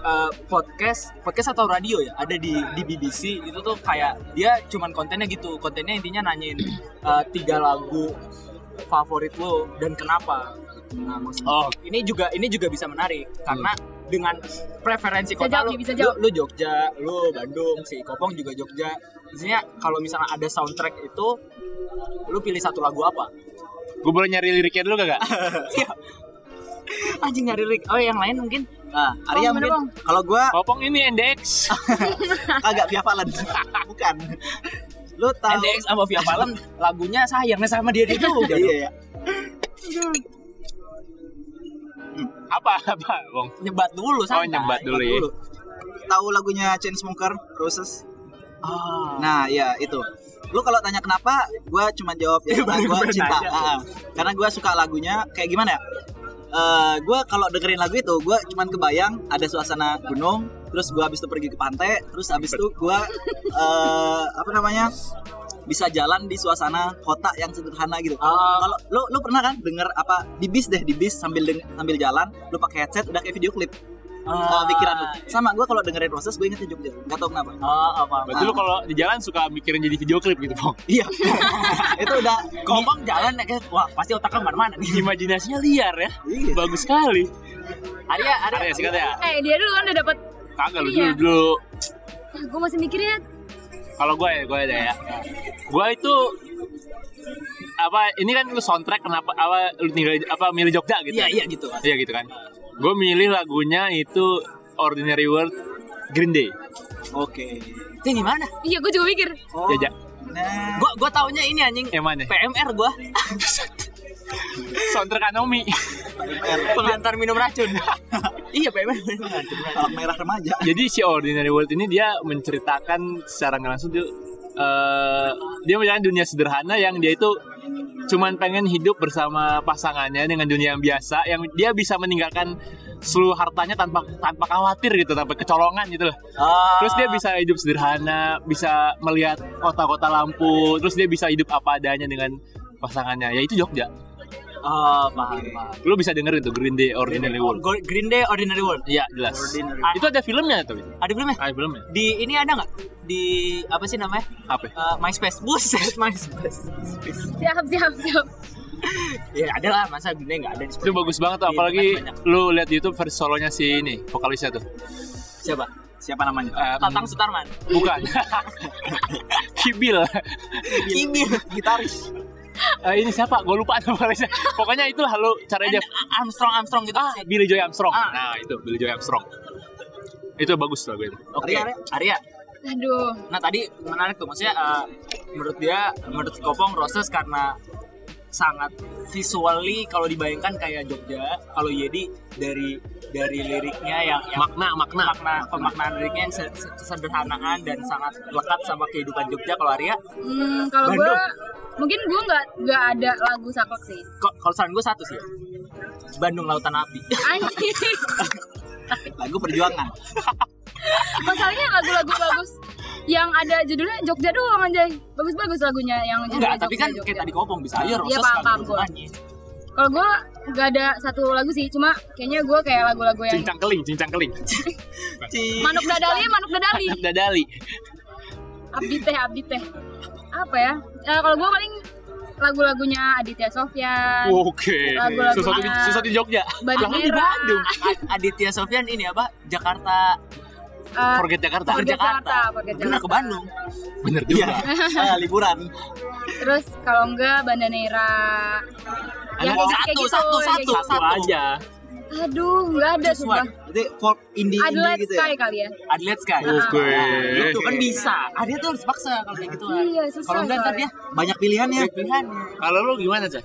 eh, podcast, podcast atau radio ya, ada di di BBC itu tuh kayak dia cuman kontennya gitu, kontennya intinya nanyain eh, tiga lagu favorit lo dan kenapa. Nah, maksudnya
Oh. Hmm.
ini juga ini juga bisa menarik karena dengan preferensi
Bisa
kota
jawab
lu,
nih, bisa
lu,
jawab.
lu Jogja, lu Bandung, si Kopong juga Jogja. Maksudnya kalau misalnya ada soundtrack itu lu pilih satu lagu apa?
Gue boleh nyari liriknya dulu kagak?
Anjing nyari lirik. Oh, yang lain mungkin.
nah Arya
Bang, bener,
mungkin kalau gua
Kopong ini NDX.
kagak Via Valen bukan lu tahu
NDX sama Via Valen lagunya sayangnya sama dia dia juga.
iya ya
apa apa, Bong?
nyebat dulu
Oh,
santai.
nyembat dulu ya.
dulu tahu lagunya Chainsmoker Roses
Ah.
nah ya itu lu kalau tanya kenapa gue cuma jawab ya karena gue cinta Ah, ah. karena gue suka lagunya kayak gimana ya gue kalau dengerin lagu itu gue cuman kebayang ada suasana gunung terus gue habis itu pergi ke pantai terus habis itu gue eh, apa namanya bisa jalan di suasana kota yang sederhana gitu. Kalau lu lu pernah kan denger apa di bis deh di bis sambil deng- sambil jalan lu pakai headset udah kayak video klip.
Ah,
Eh, pikiran lu. Sama gue kalau dengerin proses gue ingetnya Jogja. Gak tau kenapa.
Oh, apa apa.
Berarti lu kalau di jalan suka mikirin jadi video klip gitu, Bong.
Iya. itu udah
Kompong jalan kayak wah pasti otaknya mana-mana nih.
Imajinasinya liar ya.
Iya.
Bagus sekali.
Arya, Arya,
Ada ya, sikat ya.
Eh, dia dulu kan udah dapet.
Kagak lu
Iya.
dulu dulu.
Gue masih ya. mikirnya
Kalau gue ya, gue ada ya. Gue itu apa ini kan lu soundtrack kenapa apa lu tinggal apa milih Jogja gitu?
Iya, iya gitu.
Iya gitu kan. Gue milih lagunya itu Ordinary World Green Day.
Oke.
Itu yang gimana?
Iya, gue juga mikir.
Oh.
Ya, ja-
Nah,
Gua gua taunya ini anjing
Yang mana?
PMR gua.
Soundtrack Anomi.
Pengantar minum racun. iya PMR.
Tolak merah remaja.
Jadi si Ordinary World ini dia menceritakan secara nggak langsung dia eh, dia menjalani dunia sederhana yang dia itu cuman pengen hidup bersama pasangannya dengan dunia yang biasa yang dia bisa meninggalkan seluruh hartanya tanpa tanpa khawatir gitu tanpa kecolongan gitu loh.
Ah,
Terus dia bisa hidup sederhana, bisa melihat kota-kota lampu, terus dia bisa hidup apa adanya dengan pasangannya. Yaitu Jogja.
Oh, paham, paham.
Lu bisa dengerin tuh Green Day Ordinary World.
Go- Green Day Ordinary World.
Iya, jelas.
Ordinary.
Itu ada filmnya tuh.
Ada belum ya?
Ada filmnya.
Di ini ada nggak? Di apa sih namanya?
Apa?
Eh, MySpace. Buset, MySpace.
siap siap siap
ya ada lah, masa Green Day nggak ada di
Itu
Spotify?
bagus banget tuh,
Iya,
apalagi
banyak.
lu lihat di YouTube versi solonya si ini, vokalisnya tuh.
Siapa?
Siapa namanya?
Eh,
Tatang Sutarman.
bukan. Kibil. Iya.
Kimi.
Gitaris.
Eh, ini siapa? Gue lupa nama vokalisnya. Pokoknya itulah lu cara aja
Armstrong Armstrong gitu.
ah, Billy Joy Armstrong.
Ah.
Nah, itu Billy Joy Armstrong. Itu bagus lah gue.
Oke.
Arya, Arya.
Arya.
aduh
Nah tadi menarik tuh maksudnya eh, menurut dia menurut Kopong Roses karena sangat visually kalau dibayangkan kayak Jogja kalau Yedi dari dari liriknya yang, yang
Makna, makna.
makna pemaknaan liriknya yang se- se- kesederhanaan dan sangat lekat sama kehidupan Jogja kalau Arya
hmm, kalau gue
Bandung.
mungkin gue nggak nggak ada lagu saklek sih
ko- kalau saran gue satu sih Bandung Lautan Api
anjing
Lagu perjuangan.
masalahnya lagu-lagu bagus yang ada judulnya Jogja doang anjay bagus-bagus lagunya yang judulnya
enggak tapi
Jogja,
kan
Jogja.
kayak tadi Kopong bisa aja Roses
Iya, paham, paham,
lagu
gua.
nyanyi.
kalau gue nggak ada satu lagu sih cuma kayaknya gue kayak lagu-lagu yang
Cincang keling, cincang keling.
manuk dadali manuk dadali
Dadali.
abdi teh abdi teh apa ya Eh, kalau gue paling lagu-lagunya Aditya Sofyan
Oke.
Lagu-lagu
Sesuatu di,
yang-
sesuatu di Jogja.
Bandung
Oh, Lagu di
Era.
Bandung.
A- Aditya Sofyan ini apa Jakarta
eh,
Forget Jakarta.
Forget Jakarta, Forget
bener
Jakarta.
ke Bandung
Bener
Iya.
juga.
Ah, liburan.
terus kalau enggak Bandanera yang
Anak-
kayak
satu, satu,
gitu yang
satu,
kayak
Satu
Satu.
aja.
gitu. aduh nggak ada
Just
sumpah
one.
Jadi folk indie, indie
Adelaide
gitu
Sky
ya.
kali ya
Adelaide Sky
Oke.
Nah, itu kan bisa. Ada tuh harus paksa kalau kayak gitu. kan.
Iya, susah
Kalau enggak ntar
soalnya.
dia
Banyak pilihan ya.
pilihan.
Kalau lu gimana, Cah?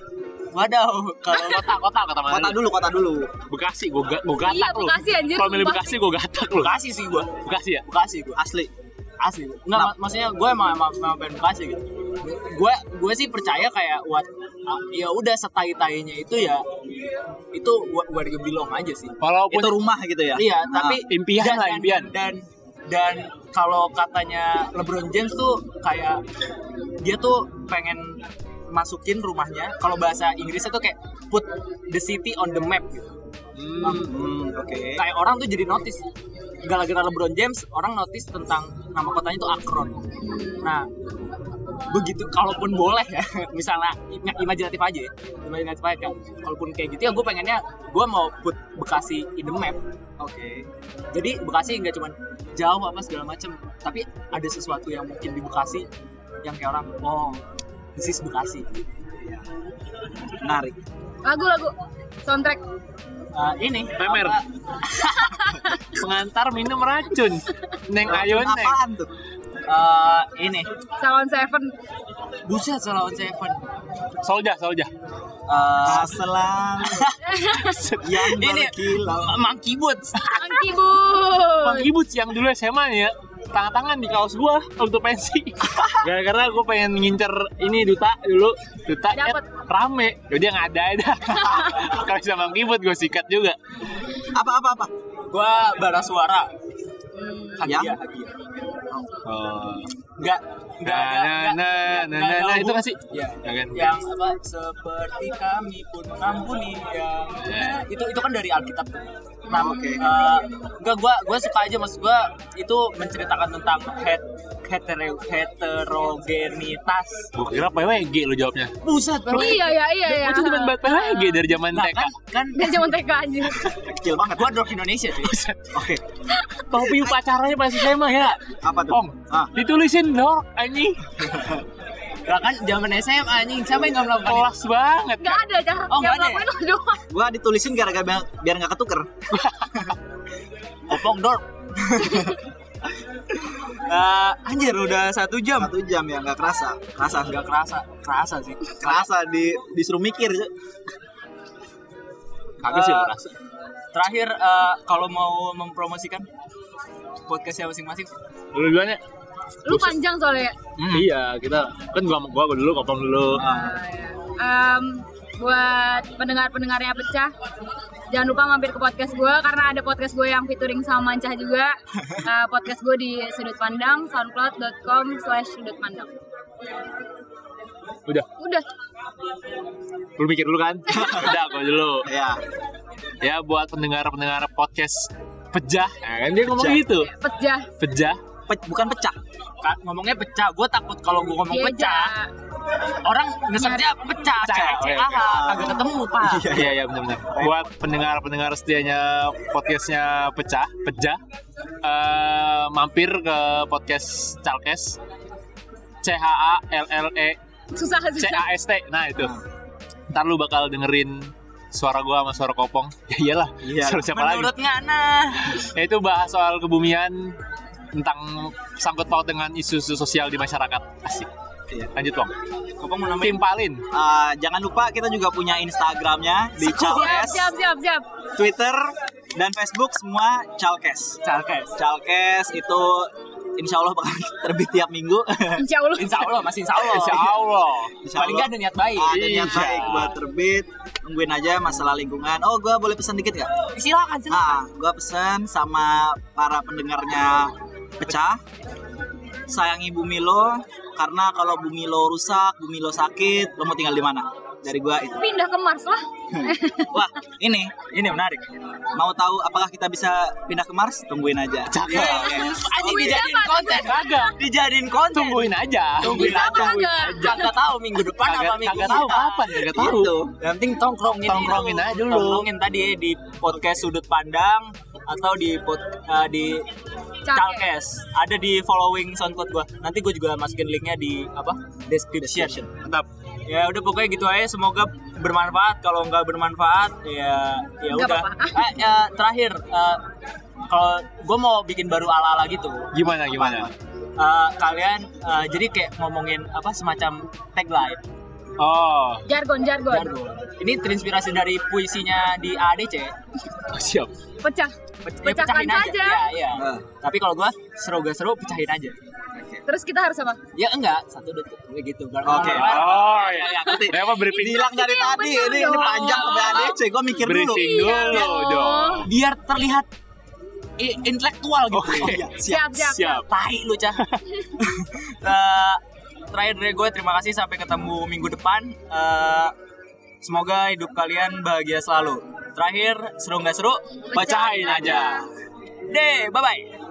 Wadaw. Kalau
Kota, kota, kota mana?
Kota dulu, kota dulu.
Bekasi, gue ga, gua gatak
Iya,
lu.
Bekasi, anjir,
Kalau milih
sumpah.
Bekasi, gue gatak lu.
Bekasi sih gua.
Bekasi ya?
Bekasi gua.
Asli.
Asli. Enggak,
Nah.
mak- maksudnya gua emang emang, emang pengen Bekasi gitu. Gua gua sih percaya kayak what ah, ya udah setai-tainya itu ya itu wa- warga Bilong aja sih.
Walaupun
Itu rumah gitu ya.
Iya, tapi
Ah, impian
dan-
lah,
dan-
impian.
Dan dan kalau katanya LeBron James tuh kayak dia tuh pengen masukin rumahnya kalau bahasa Inggrisnya tuh kayak put the city on the map gitu.
Hmm, oke.
Kayak orang tuh jadi notice. Gara-gara LeBron James orang notice tentang nama kotanya tuh Akron. Nah, begitu kalaupun boleh ya misalnya im- imajinatif aja ya imajinatif aja kayak, kalaupun kayak gitu ya gue pengennya gue mau put Bekasi in the map oke jadi Bekasi nggak cuman jauh apa segala macem tapi ada sesuatu yang mungkin di Bekasi yang kayak orang oh this is Bekasi
Menarik.
lagu-lagu soundtrack
Eh, ini
Pemer.
apa-
pengantar minum racun. Neng ayo neng.
Apaan tuh?
eh, ini
Salon Seven
buset Salon Seven
Solja, solja.
Eh,
Selang yang
ini
berkilau.
Monkey Boots
Angki Bu
Bang Ibut yang dulu SMA nih ya. Tangan-tangan di kaos gua untuk pensi. Gara-gara gue pengen ngincer ini duta dulu, duta
Dapet.
nyet, rame. Jadi yang ada ada. Kalau bisa Bang Ibut gue sikat juga.
Apa apa apa? Ya?
gue bara suara hadiah
Yang?
hadiah
Oh.
nggak nggak
Nah,
ada- nggak-
nah, nah,
nggak-
nah,
nggak ada
nah, nah, itu
hubung-
nggak sih?
Iya.
Ya kan?
yang apa seperti kami pun mengampuni ya Nah, itu itu kan dari Alkitab nah oke enggak gua gua suka aja maksud gua itu menceritakan tentang het hetero heterogenitas
Gue kira PWG lo jawabnya.
buset baru
Iya ya iya ya.
Itu demen banget PWG dari zaman
nah
TK.
kan kan
Dia cuma TK anjir.
kecil banget gua drop Indonesia cuy
Oke.
Topi pacarnya masih SMA ya.
Apa tuh?
Om,
Ah.
ditulisin dong anjing.
nah kan zaman SMA anjing siapa yang nggak melakukan
Kelas banget.
Enggak ada cara
Oh, nggak
yang
ada ya?
ngelakuin lo doang.
Gua ditulisin gara-gara biar- biar nggak ketuker.
kopong dor Eh, anjir udah satu jam.
satu jam ya nggak kerasa kerasa
Nggak kerasa, kerasa sih.
kerasa di disuruh mikir
Kagak sih
Eh,
orang.
Terakhir eh, kalau mau mempromosikan podcastnya masing-masing.
Lu duluan ya?
Lu panjang soalnya.
Iya, kita kan gua gua dulu kopong dulu.
Em, buat pendengar-pendengarnya pecah jangan lupa mampir ke podcast gue karena ada podcast gue yang featuring sama Mancah juga Eh, podcast gue di sudut pandang soundcloud.com slash sudut pandang
Ah, Udah,
udah
lu mikir dulu kan? Udah, gua dulu.
ya
Ya buat pendengar-pendengar podcast pejah, ya kan dia ngomong gitu.
pecah
Pejah.
Pe- bukan pecah
Kan ngomongnya pecah. Gue takut kalau gue ngomong
Iya,
pecah,
Ja.
orang ngesernya pecah.
Pecah,
Pecah,
oke,
ah,
oke.
Kagak ketemu, Pak.
Iya iya benar-benar. Buat pendengar-pendengar setianya podcastnya pecah, pejah, eh, mampir ke podcast Calkes. C H A L L E
susah
C
susah
A S T. Nah itu. Ntar lu bakal dengerin suara gua sama suara kopong. Ya iyalah.
Iya.
Suara siapa lagi?
Menurut Ngana.
Ya, itu bahas soal kebumian tentang sangkut paut dengan isu-isu sosial di masyarakat. Asik.
Iya.
Lanjut, Bang.
Kopong mau nambahin?
Timpalin.
Eh, jangan lupa kita juga punya Instagramnya di
siap
Chalkes,
siap siap siap
Twitter dan Facebook semua Chalkes.
Calkes.
Chalkes itu insya Allah bakal terbit tiap minggu.
insya Allah
Eh, Insya Allah, masih insya Allah.
Insya Allah.
Insya
Paling nggak
Allah
ada niat baik.
ada niat
Iya.
Ah, baik buat terbit. Nungguin aja masalah lingkungan. Oh, gua boleh pesan dikit nggak?
Silakan, silakan.
Nah, gua pesan sama para pendengarnya pecah. Sayangi bumi lo, karena kalau bumi lo rusak, bumi lo sakit, lo mau tinggal di mana? Dari gua itu.
pindah ke Mars lah
Wah, ini
Ini menarik.
mau tahu apakah kita bisa pindah ke Mars? Tungguin aja. Iya,
Cakep.
Anjing Eh,
Tungguin
dijadiin
apa?
konten.
Kagak.
Dijadiin konten.
Tungguin aja.
Tungguin
Bisa apa
aja.
kagak?
Kagak tahu minggu depan apa
Kagak
minggu
kagak tahu
kita.
kapan, kagak tahu.
Gitu.
Yang penting tongkrongin,
Tongkrongin aja dulu.
Tongkrongin tadi di podcast sudut pandang atau di pod, eh, di
Calkes.
Calkes. Ada di following SoundCloud gua. Nanti gua juga masukin linknya di apa? Description.
Mantap.
Ya udah pokoknya gitu aja. Semoga bermanfaat. Kalau nggak bermanfaat ya ya
Nggak
udah.
apa-apa.
Eh, eh, terakhir eh, kalau gua mau Oh, bikin baru ala-ala gitu.
Gimana gimana?
Eh, kalian eh, jadi kayak ngomongin apa semacam tagline.
Oh,
jargon jargon
Jargon. Ini terinspirasi dari puisinya di ADC.
siap.
pecah
Pe- ya,
Pecahkan saja.
Iya, iya.
Nah.
Tapi kalau gua seru gak seru pecahin aja.
terus kita harus apa
Ya enggak, satu detik Kayak gitu. Iya,
Oke. iya,
Oh, ya.
ya,
Kenapa briefing?
Bilang dari
yang
tadi
bener
ini, ini
dong.
panjang sampai ADC, gua mikir dulu.
Briefing
Iya
dulu
dong.
dong.
Biar terlihat i- intelektual gitu.
Oke.
Iya,
siap siap,
Siap.
Tai lu, Cah. Eh, terakhir dari gue, terima kasih sampai ketemu minggu depan. Eh, semoga hidup kalian bahagia selalu. Terakhir, seru nggak seru?
Pecahin
Pecahin aja. Deh, bye-bye.